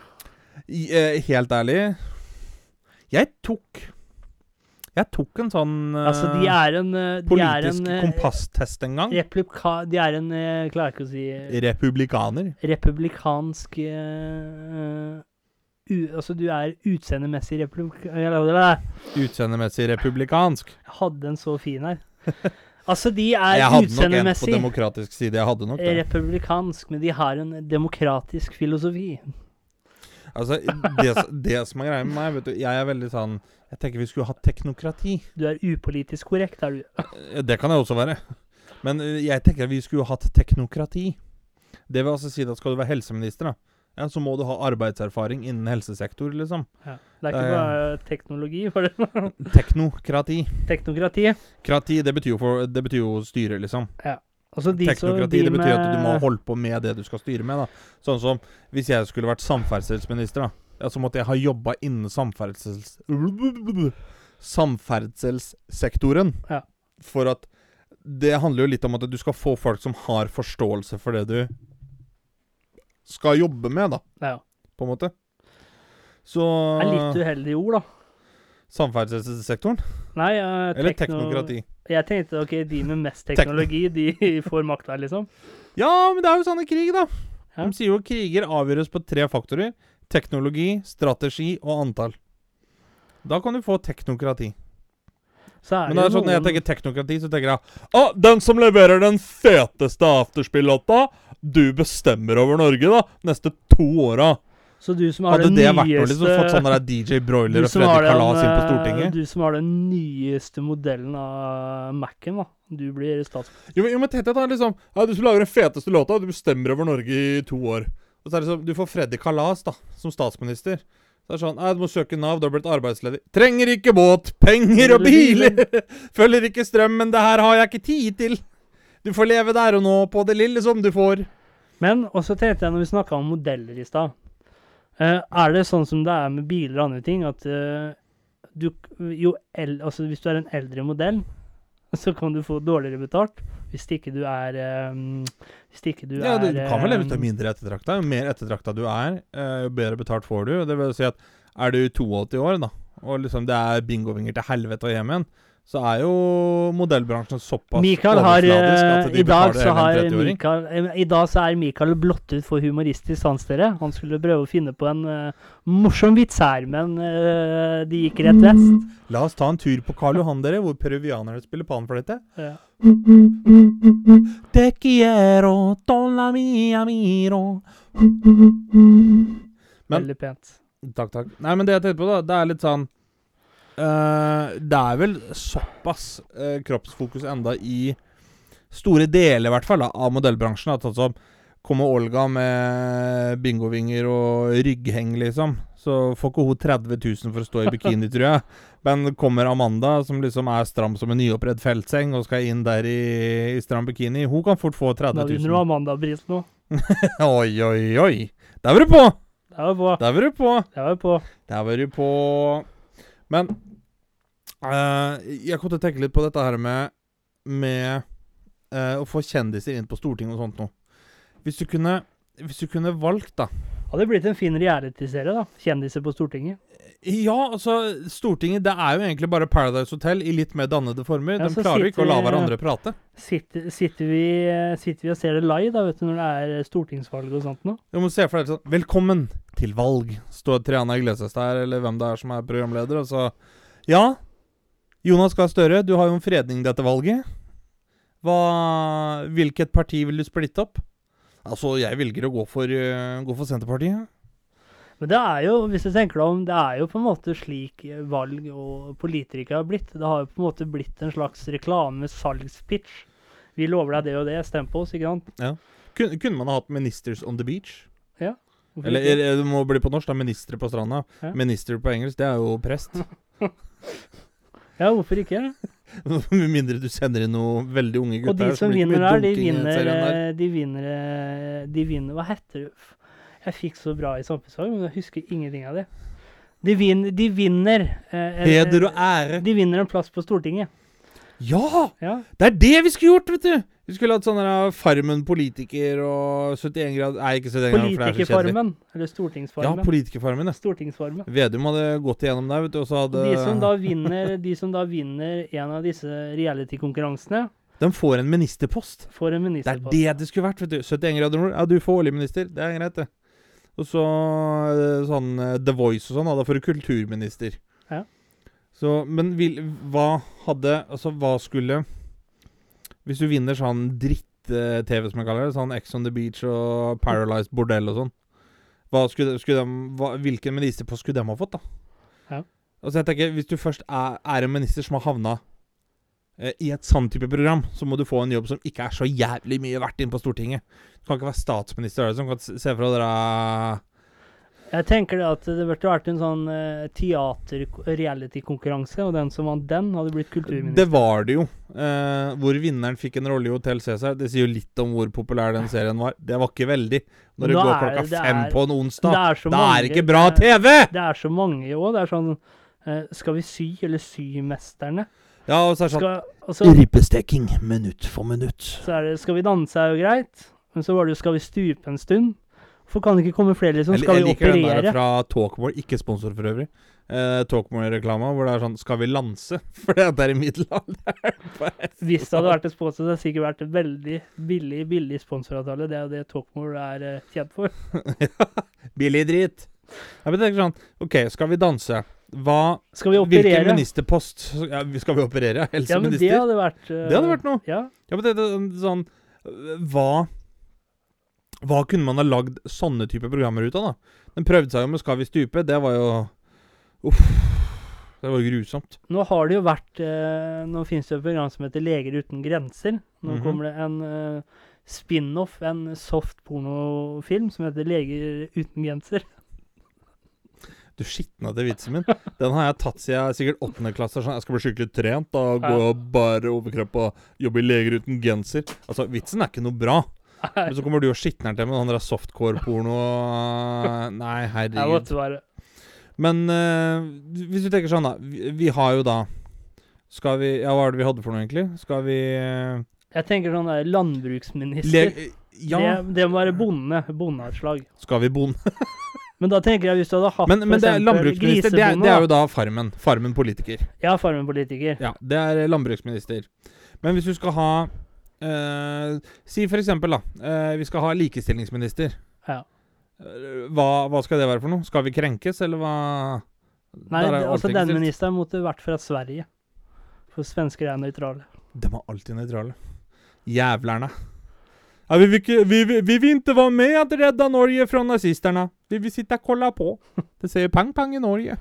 Speaker 3: I- eh, Helt ærlig Jeg tok Jeg tok en sånn eh,
Speaker 1: Altså, de er en eh, de er
Speaker 3: politisk
Speaker 1: en, eh,
Speaker 3: kompasstest en gang.
Speaker 1: Replika, de er en Jeg klarer ikke å si eh,
Speaker 3: Republikaner.
Speaker 1: Republikansk eh, u, Altså, du er utseendemessig eh, republikaner
Speaker 3: Utseendemessig republikansk.
Speaker 1: Jeg hadde en så fin her. Altså, de
Speaker 3: Jeg
Speaker 1: er
Speaker 3: hadde nok en på
Speaker 1: utseendemessig
Speaker 3: demokratisk side. Jeg hadde nok det.
Speaker 1: republikansk, men de har en demokratisk filosofi.
Speaker 3: Altså, det, s- det som er greia med meg, vet du Jeg er veldig sånn Jeg tenker vi skulle hatt teknokrati.
Speaker 1: Du er upolitisk korrekt, er du.
Speaker 3: Eh, Det kan jeg også være. Men eh, jeg tenker vi skulle hatt teknokrati. Det vil altså si at skal du være helseminister, da, ja, så må du ha arbeidserfaring innen helsesektor, liksom.
Speaker 1: Ja. Det er ikke
Speaker 3: Ja, ja.
Speaker 1: bare teknologi for det.
Speaker 3: Teknokrati.
Speaker 1: Teknokrati.
Speaker 3: Krati, det betyr jo, for, det betyr jo styre, liksom.
Speaker 1: Altså, de som-
Speaker 3: Teknokrati,
Speaker 1: de
Speaker 3: det betyr at du må
Speaker 1: med-
Speaker 3: holde på med det du skal styre med, da. Sånn som hvis jeg skulle vært samferdselsminister, da. Ja, så måtte jeg ha jobba innen samferdsels... Samferdselssektoren.
Speaker 1: Ja.
Speaker 3: For at det handler jo litt om at du skal få folk som har forståelse for det du skal jobbe med, da,
Speaker 1: Ja.
Speaker 3: på en måte. Så
Speaker 1: Det er
Speaker 3: Ah.
Speaker 1: litt uheldige ord, da.
Speaker 3: Samferdselssektoren?
Speaker 1: Nei, eh,
Speaker 3: Eller
Speaker 1: tekno-
Speaker 3: teknokrati?
Speaker 1: Jeg tenkte ok, de med mest teknologi, de får makta, liksom.
Speaker 3: Ja, men det er jo sånn i krig, da.
Speaker 1: Ja.
Speaker 3: De sier jo at kriger avgjøres på tre faktorer. Teknologi, strategi og antall. Da kan du få teknokrati.
Speaker 1: Så er
Speaker 3: Men det er
Speaker 1: jo
Speaker 3: sånn, når jeg
Speaker 1: noen-
Speaker 3: tenker teknokrati, så tenker jeg Å, den som leverer den feteste afterspill-låta, du bestemmer over Norge, da, neste to åra.
Speaker 1: Så du som har
Speaker 3: Hadde
Speaker 1: den
Speaker 3: det
Speaker 1: nyeste
Speaker 3: vært noe, liksom, fått sånn der DJ Broiler
Speaker 1: du
Speaker 3: og
Speaker 1: som
Speaker 3: Freddy
Speaker 1: har den,
Speaker 3: Kalas inn på
Speaker 1: eh,
Speaker 3: Stortinget?
Speaker 1: Du som har den nyeste modellen av Mac-en, da. Du blir stats...
Speaker 3: Jo, men- jo, men tenk deg da, liksom ja, Du som lager den feteste låta, du bestemmer over Norge i to år. Og så er det sånn, Du får Freddy Kalas da, som statsminister. Så er det sånn, «Nei, Du må søke Nav, du har blitt arbeidsledig. Trenger ikke båt, penger og biler! Følger ikke strømmen, det her har jeg ikke tid til! Du får leve der og nå på det lille som du får.
Speaker 1: Men også tenkte jeg, når vi snakka om modeller i stad eh, Er det sånn som det er med biler og andre ting, at eh, du jo el, Altså, hvis du er en eldre modell, så kan du få dårligere betalt. Hvis ikke du er eh, Hvis ikke du
Speaker 3: ja,
Speaker 1: er
Speaker 3: du, du kan vel leve ut
Speaker 1: eh,
Speaker 3: av mindre ettertrakta. Jo mer ettertrakta du er, eh, jo bedre betalt får du. Det vil si at er du 82 år, da, og liksom det er bingovinger til helvete og hjem igjen, så er jo modellbransjen såpass
Speaker 1: Mikael har
Speaker 3: overfladisk at
Speaker 1: eh,
Speaker 3: de
Speaker 1: I dag
Speaker 3: betaler
Speaker 1: så
Speaker 3: hele en
Speaker 1: har
Speaker 3: 30-åring.
Speaker 1: Mikael eh, I dag så er Mikael blottet for humoristisk sans, dere. Han skulle prøve å finne på en eh, morsom vits her, men eh, de gikk rett vest.
Speaker 3: La oss ta en tur på Karl Johan, dere, hvor peruvianere spiller panfløyte.
Speaker 1: Ja.
Speaker 3: Te quiero, tolla mia miro. Men-
Speaker 1: Veldig pent.
Speaker 3: Takk, takk. Nei, men det jeg tenkte på, da, det er litt sånn eh, Det er vel såpass eh, kroppsfokus enda i store deler, i hvert fall, da, av modellbransjen. At sånn som kommer Olga med bingovinger og ryggheng, liksom, så får ikke hun 30 000 for å stå i bikini, tror jeg. Men kommer Amanda, som liksom er stram som en nyoppredd feltseng, og skal inn der i, i stram bikini, hun kan fort få
Speaker 1: Da
Speaker 3: 30
Speaker 1: vinner du
Speaker 3: 000.
Speaker 1: Amanda-prisen nå.
Speaker 3: Oi, oi, oi! Der var du på!
Speaker 1: Det var bra.
Speaker 3: Der var du på!
Speaker 1: Det var på.
Speaker 3: Der var du på Men eh, jeg kom til å tenke litt på dette her med Med eh, å få kjendiser inn på Stortinget og sånt noe. Hvis du kunne Hvis du kunne valgt, da
Speaker 1: Hadde blitt en fin reality-serie, da. Kjendiser på Stortinget.
Speaker 3: Ja, altså Stortinget det er jo egentlig bare Paradise Hotel i litt mer dannede former.
Speaker 1: Ja,
Speaker 3: De
Speaker 1: så
Speaker 3: klarer jo ikke å la
Speaker 1: sitter-
Speaker 3: hverandre prate.
Speaker 1: Sitter, sitter, vi, eh, sitter vi og ser det live, da, vet du, når det er stortingsvalg og sånt nå.
Speaker 3: Du må se for deg sånn Velkommen til valg. Står Triana Iglesias der, eller hvem det er som er programleder, og så Ja, Jonas Gahr Støre, du har jo en fredning dette valget. Hva Hvilket parti vil du splitte opp? Altså, jeg velger å gå for, eh, gå for Senterpartiet.
Speaker 1: Men det er jo, hvis du tenker deg om, det er jo på en måte slik valg og politikere har blitt. Det har jo på en måte blitt en slags reklame-salgspitch. Vi lover deg det og det, stem på oss, ikke sant?
Speaker 3: Kun, kunne man ha hatt Ministers on the beach?
Speaker 1: Hvorfor
Speaker 3: Eller
Speaker 1: ikke?
Speaker 3: eh, det må bli på norsk, da. Ministre på stranda.
Speaker 1: Ja.
Speaker 3: Minister på engelsk, det er jo prest.
Speaker 1: Ja, hvorfor ikke?
Speaker 3: Med mindre du sender inn noen veldig unge
Speaker 1: Og
Speaker 3: gutter.
Speaker 1: de
Speaker 3: her, så
Speaker 1: som
Speaker 3: blir det ikke
Speaker 1: vinner eh, der, de vinner,
Speaker 3: mye dunking i den serien der.
Speaker 1: eh, de vinner eh, De vinner Hva heter det? Jeg fikk så bra i samfunnsfag, men jeg husker ingenting av det. De, vin, de vinner eh, en-
Speaker 3: Heder og ære.
Speaker 1: De vinner en plass på Stortinget.
Speaker 3: Ja!
Speaker 1: Ja.
Speaker 3: Det er det vi skulle gjort, vet du! Vi skulle hatt sånn der Farmen politiker og 71 grad Nei, ikke 71 grad, for det er så kjedelig.
Speaker 1: Politikerfarmen. Eller
Speaker 3: Ja,
Speaker 1: Stortingsfarmen.
Speaker 3: Politikerfarmen. Ja.
Speaker 1: Stortingsfarmen.
Speaker 3: Vedum hadde gått igjennom der, vet du, og så hadde
Speaker 1: De som, da vinner, de som da vinner en av disse reality-konkurransene,
Speaker 3: De får en ministerpost.
Speaker 1: får en
Speaker 3: Det er
Speaker 1: ministerpost.
Speaker 3: det det skulle vært, vet du. 71 grader nord. Ja, du får årlig minister. Det er greit, det. Og så eh, sånn eh, The Voice og sånn. Ja, da får du kulturminister.
Speaker 1: Ja.
Speaker 3: Så, men vil, hva hadde Altså, hva skulle Hvis du vinner sånn dritt-TV, som jeg kaller det, sånn Ex on the Beach og Paralyzed Bordell og sånn, hva skulle, skulle de, hva, hvilken ministerpost skulle de ha fått, da?
Speaker 1: Ja.
Speaker 3: Altså, jeg tenker, Hvis du først er, er en minister som har havna eh, i et sånn type program, så må du få en jobb som ikke er så jævlig mye verdt inn på Stortinget. Du kan ikke være statsminister. Er det sånn? Kan se se for deg dere-
Speaker 1: Jeg tenker det at det burde vært en sånn eh, teater-reality-konkurranse, og den som vant den, hadde blitt kulturminister.
Speaker 3: Det var det jo. Eh, hvor vinneren fikk en rolle i Hotell Cæsar. Det sier jo litt om hvor populær den serien var. Det var ikke veldig. Når det
Speaker 1: Nå
Speaker 3: går
Speaker 1: er
Speaker 3: klokka
Speaker 1: det- det
Speaker 3: fem
Speaker 1: er-
Speaker 3: på en onsdag,
Speaker 1: er så
Speaker 3: da er det
Speaker 1: mange- eh,
Speaker 3: ikke bra TV!
Speaker 1: Det er så mange òg. Det er sånn eh, Skal vi sy, eller Symesterne?
Speaker 3: Ja, og så er det sånn
Speaker 1: Skal, og så,
Speaker 2: Ribbesteking minutt for minutt.
Speaker 1: så er det Skal vi danse er jo greit, men så var det jo Skal vi stupe en stund? Hvorfor kan det ikke komme flere som
Speaker 3: Jeg,
Speaker 1: skal
Speaker 3: jeg
Speaker 1: vi
Speaker 3: liker den der
Speaker 1: operere?
Speaker 3: fra Talkmore, ikke sponsor for øvrig. Eh, Talkmore-reklama hvor det er sånn 'Skal vi lanse?' For det er i middelalderen.
Speaker 1: Hvis det hadde vært en sponsor, så hadde det sikkert vært en veldig billig billig sponsoravtale. Det er jo det Talkmore er eh, kjent for.
Speaker 3: Billig drit. Jeg bare tenker sånn OK, skal vi danse? Hva
Speaker 1: Skal vi
Speaker 3: Hvilken
Speaker 1: operere?
Speaker 3: ministerpost ja, skal vi operere?
Speaker 1: Ja, men det
Speaker 3: Helseminister?
Speaker 1: hadde vært eh,
Speaker 3: det hadde vært noe.
Speaker 1: Ja.
Speaker 3: Ja, men det, det, sånn øh, Hva Hva kunne man ha lagd sånne type programmer ut av, da? Den prøvde seg jo med 'Skal vi stupe'. Det var jo Uff. Det var jo grusomt.
Speaker 1: Nå har det jo vært eh, Nå finnes det jo et program som heter Leger uten grenser. Nå
Speaker 3: Mhm.
Speaker 1: kommer det en eh, spin-off, en soft pornofilm, som heter Leger uten grenser.
Speaker 3: Du skitna til vitsen min. Den har jeg tatt siden jeg er sikkert åttende klasse. Sånn, jeg skal bli skikkelig trent. Da går jeg bare overkropp og jobber i Leger uten genser. Altså, vitsen er ikke noe bra. Men så kommer du og skitner til med den der softcore-porno og Nei,
Speaker 1: Jeg
Speaker 3: herregud.
Speaker 1: måtte bare
Speaker 3: Men eh, hvis du tenker sånn, da. Vi, vi har jo da Skal vi Ja, hva er det vi hadde for noe, egentlig? Skal vi eh,
Speaker 1: Jeg tenker sånn der landbruksminister.
Speaker 3: le- Ja,
Speaker 1: det, det må være bonde. Bondeavslag.
Speaker 3: skal vi bonde?
Speaker 1: Men da tenker jeg hvis du hadde hatt
Speaker 3: Men,
Speaker 1: for
Speaker 3: men det er
Speaker 1: eksempel
Speaker 3: landbruksminister, det er,
Speaker 1: grisebonde,
Speaker 3: det er jo
Speaker 1: da.
Speaker 3: da Farmen. Farmen politiker.
Speaker 1: Ja, farmenpolitiker.
Speaker 3: Ja, det er eh, landbruksminister. Men hvis du skal ha eh, Si for eksempel, da. eh, vi skal ha likestillingsminister.
Speaker 1: Ja.
Speaker 3: Eh, Hva, hva skal det være for noe? Skal vi krenkes, eller hva
Speaker 1: Nei,
Speaker 3: Der er
Speaker 1: det,
Speaker 3: jo
Speaker 1: altså den
Speaker 3: alltid ikke stilt.
Speaker 1: ministeren måtte vært fra Sverige. For svensker er nøytrale.
Speaker 3: De er alltid nøytrale. Jævlerne. Ja, vi, vil ikke, vi, vi, vi vil ikke være med at redda Norge fra nazisterne. Vi vil sitte og kolla på. Det sier pang-pang i Norge.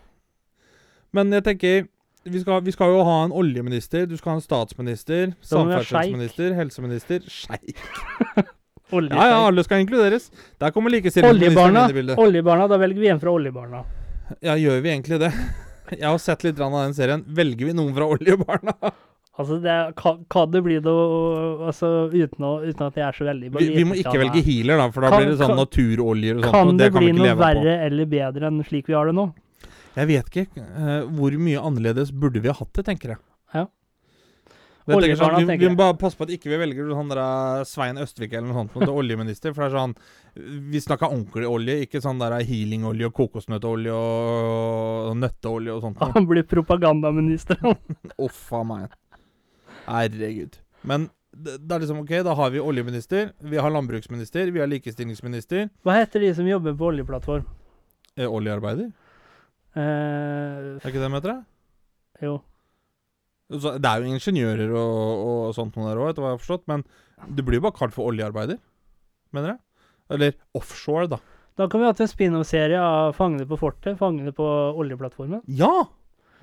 Speaker 3: Men jeg tenker vi skal, vi skal jo ha en oljeminister, du skal ha en statsminister,
Speaker 1: Da må vi ha
Speaker 3: samferdselsminister, helseminister Skeik.
Speaker 1: Olje,
Speaker 3: Ja, ja, alle skal inkluderes. Der kommer likestillingsministeren
Speaker 1: oljebarna,
Speaker 3: inn i bildet.
Speaker 1: oljebarna, da velger vi en fra Oljebarna.
Speaker 3: Ja, gjør vi egentlig det? Jeg har sett litt grann av den serien. Velger vi noen fra Oljebarna?
Speaker 1: Altså, det er, kan, kan det bli noe altså, uten, å, uten at jeg er så veldig
Speaker 3: Vi, vi må ikke velge healer, da, for da
Speaker 1: Kan-
Speaker 3: blir det sånn
Speaker 1: kan-
Speaker 3: naturoljer og sånt.
Speaker 1: Kan
Speaker 3: og
Speaker 1: det,
Speaker 3: det kan
Speaker 1: bli
Speaker 3: vi ikke
Speaker 1: noe
Speaker 3: leve på.
Speaker 1: verre eller bedre enn slik vi har det nå?
Speaker 3: Jeg vet ikke eh, hvor mye annerledes burde vi ha hatt det, tenker jeg.
Speaker 1: Ja.
Speaker 3: Det tenker jeg sånn,
Speaker 1: Oljebarna,
Speaker 3: vi,
Speaker 1: tenker
Speaker 3: vi
Speaker 1: jeg.
Speaker 3: må bare passe på at ikke vi velger han der eh, Svein Østvik eller noe sånt som oljeminister. For det er sånn Vi snakka ordentlig olje, ikke sånn der healingolje og kokosnøtteolje og nøtteolje og sånt. noe.
Speaker 1: Han blir propagandaminister.
Speaker 3: Uff a meg. Herregud. Men det, det er liksom OK, da har vi oljeminister, vi har landbruksminister, vi har likestillingsminister.
Speaker 1: Hva heter de som jobber på oljeplattform?
Speaker 3: Eh, oljearbeider,
Speaker 1: Eh,
Speaker 3: er ikke det de heter? det?
Speaker 1: jo.
Speaker 3: Så det er jo ingeniører og, og sånt noe der òg, etter hva jeg har forstått. Men det blir jo bare kalt for oljearbeider, mener jeg. Eller offshore, da.
Speaker 1: Da kan vi ha hatt en spin-off-serie av Fangene på fortet, Fangene på oljeplattformen.
Speaker 3: Ja!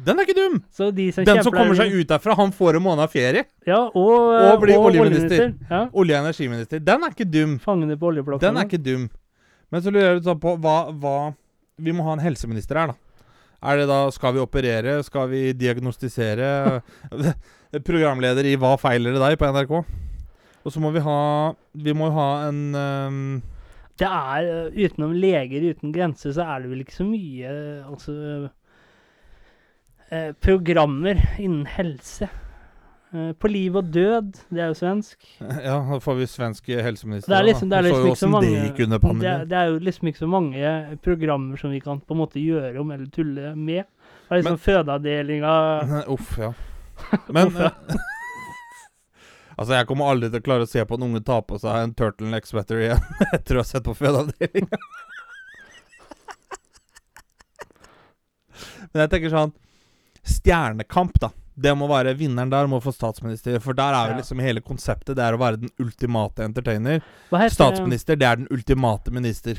Speaker 3: Den er ikke dum!
Speaker 1: Så de som
Speaker 3: Den som kommer seg ut derfra, han får en måned ferie.
Speaker 1: ja, og, eh,
Speaker 3: og blir oljeminister.
Speaker 1: Ja.
Speaker 3: Olje- og energiminister. Den er ikke dum.
Speaker 1: Fangene på
Speaker 3: Den
Speaker 1: oljeplattformen.
Speaker 3: er ikke dum. Men så lurer jeg litt sånn på hva, hva Vi må ha en helseminister her, da. Er det da Skal vi operere? Skal vi diagnostisere? Programleder i ehm, Hva feiler det deg? på NRK. Og så må vi ha Vi må jo ha en øhm,
Speaker 1: Det er eh, Utenom Leger uten grenser, så er det vel ikke så mye eh, Altså eh, Programmer innen helse. Eh, på liv og død, det er jo svensk.
Speaker 3: Ja, da får vi svensk helseminister.
Speaker 1: Det er
Speaker 3: da, da.
Speaker 1: liksom- det er
Speaker 3: Vi så
Speaker 1: liksom
Speaker 3: jo
Speaker 1: ikke så
Speaker 3: hvordan det
Speaker 1: mange-
Speaker 3: gikk under
Speaker 1: Det, er-
Speaker 3: pandemien.
Speaker 1: det er jo liksom ikke så mange programmer som vi kan på en måte gjøre om eller tulle med. Det er liksom fødeavdelinga
Speaker 3: Uff, ja. Men Altså, jeg kommer aldri til å klare å se på en unge ta på seg en turtleneck sweater igjen etter å ha sett på fødeavdelinga. Men jeg tenker sånn Stjernekamp, da. Det må være Vinneren der må få statsminister, for der er jo
Speaker 1: Ja.
Speaker 3: liksom hele konseptet Det er å være den ultimate entertainer.
Speaker 1: Hva heter,
Speaker 3: Statsminister, det er den ultimate minister.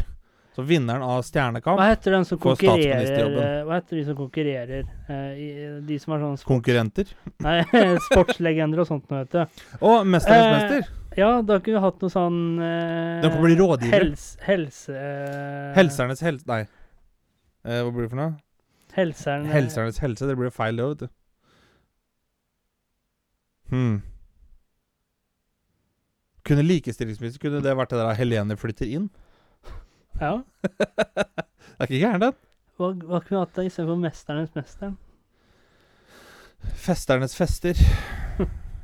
Speaker 3: Så vinneren av Stjernekamp,
Speaker 1: Hva heter den som
Speaker 3: for
Speaker 1: konkurrerer
Speaker 3: statsministerjobben.
Speaker 1: eh, Hva heter de som konkurrerer? eh, i- De som er sånn sp
Speaker 3: konkurrenter.
Speaker 1: nei, sportslegender og sånt noe, vet du.
Speaker 3: Og Mesternes
Speaker 1: Eh,
Speaker 3: mester.
Speaker 1: Ja, da kunne vi hatt noe sånn eh,
Speaker 3: Den kan bli rådgiver.
Speaker 1: Helse, eh, helse,
Speaker 3: Helsernes helse Nei. Eh, hva blir det for noe?
Speaker 1: Helseren. eh,
Speaker 3: Helsernes helse. Det blir feil, det, vet du. Hmm. Kunne likestillingsminister Kunne det vært det der Helene flytter inn?
Speaker 1: Ja.
Speaker 3: Det er ikke gæren, den.
Speaker 1: Hva, hva kunne vi hatt da istedenfor Mesternes mester?
Speaker 3: Festernes fester.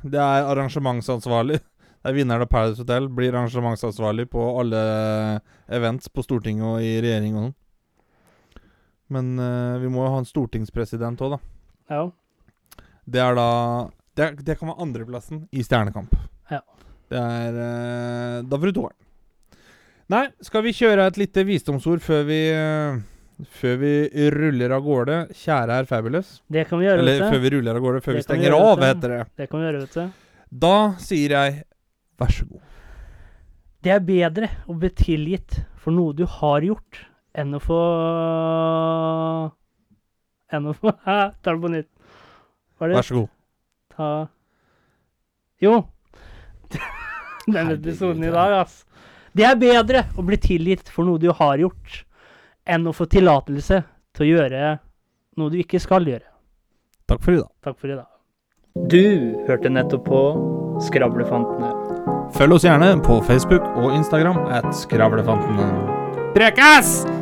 Speaker 3: Det er arrangementsansvarlig. Det er vinneren av Paradise Hotel. Blir arrangementsansvarlig på alle eh, events på Stortinget og i regjering og sånn. Men eh, vi må jo ha en stortingspresident òg, da.
Speaker 1: Ja.
Speaker 3: Det er da Det, er, det kan være andreplassen i Stjernekamp.
Speaker 1: Ja.
Speaker 3: Det er eh, Da får du toeren. Nei, skal vi kjøre et lite visdomsord før vi eh, Før vi ruller av gårde? Kjære herr Fabulous.
Speaker 1: Det kan vi gjøre,
Speaker 3: Eller
Speaker 1: vet
Speaker 3: før
Speaker 1: du.
Speaker 3: vi ruller av gårde, før
Speaker 1: Det kan vi
Speaker 3: vi stenger
Speaker 1: gjøre,
Speaker 3: av,
Speaker 1: vet du.
Speaker 3: heter det.
Speaker 1: Det kan vi gjøre, vet du.
Speaker 3: Da sier jeg vær så god.
Speaker 1: Det er bedre å bli tilgitt for noe du har gjort, enn å få Enn å få Hæ? Ta det på nytt. Var det
Speaker 3: Vær så god.
Speaker 1: ta Jo. Denne
Speaker 3: Herregud,
Speaker 1: episoden i
Speaker 3: ja.
Speaker 1: dag, ass. Det er bedre å bli tilgitt for noe du har gjort, enn å få tillatelse til å gjøre noe du ikke skal gjøre.
Speaker 3: Takk for i dag.
Speaker 1: Takk for i dag. Du hørte nettopp på Skravlefantene.
Speaker 3: Følg oss gjerne på Facebook og Instagram at Skravlefantene. Prekas!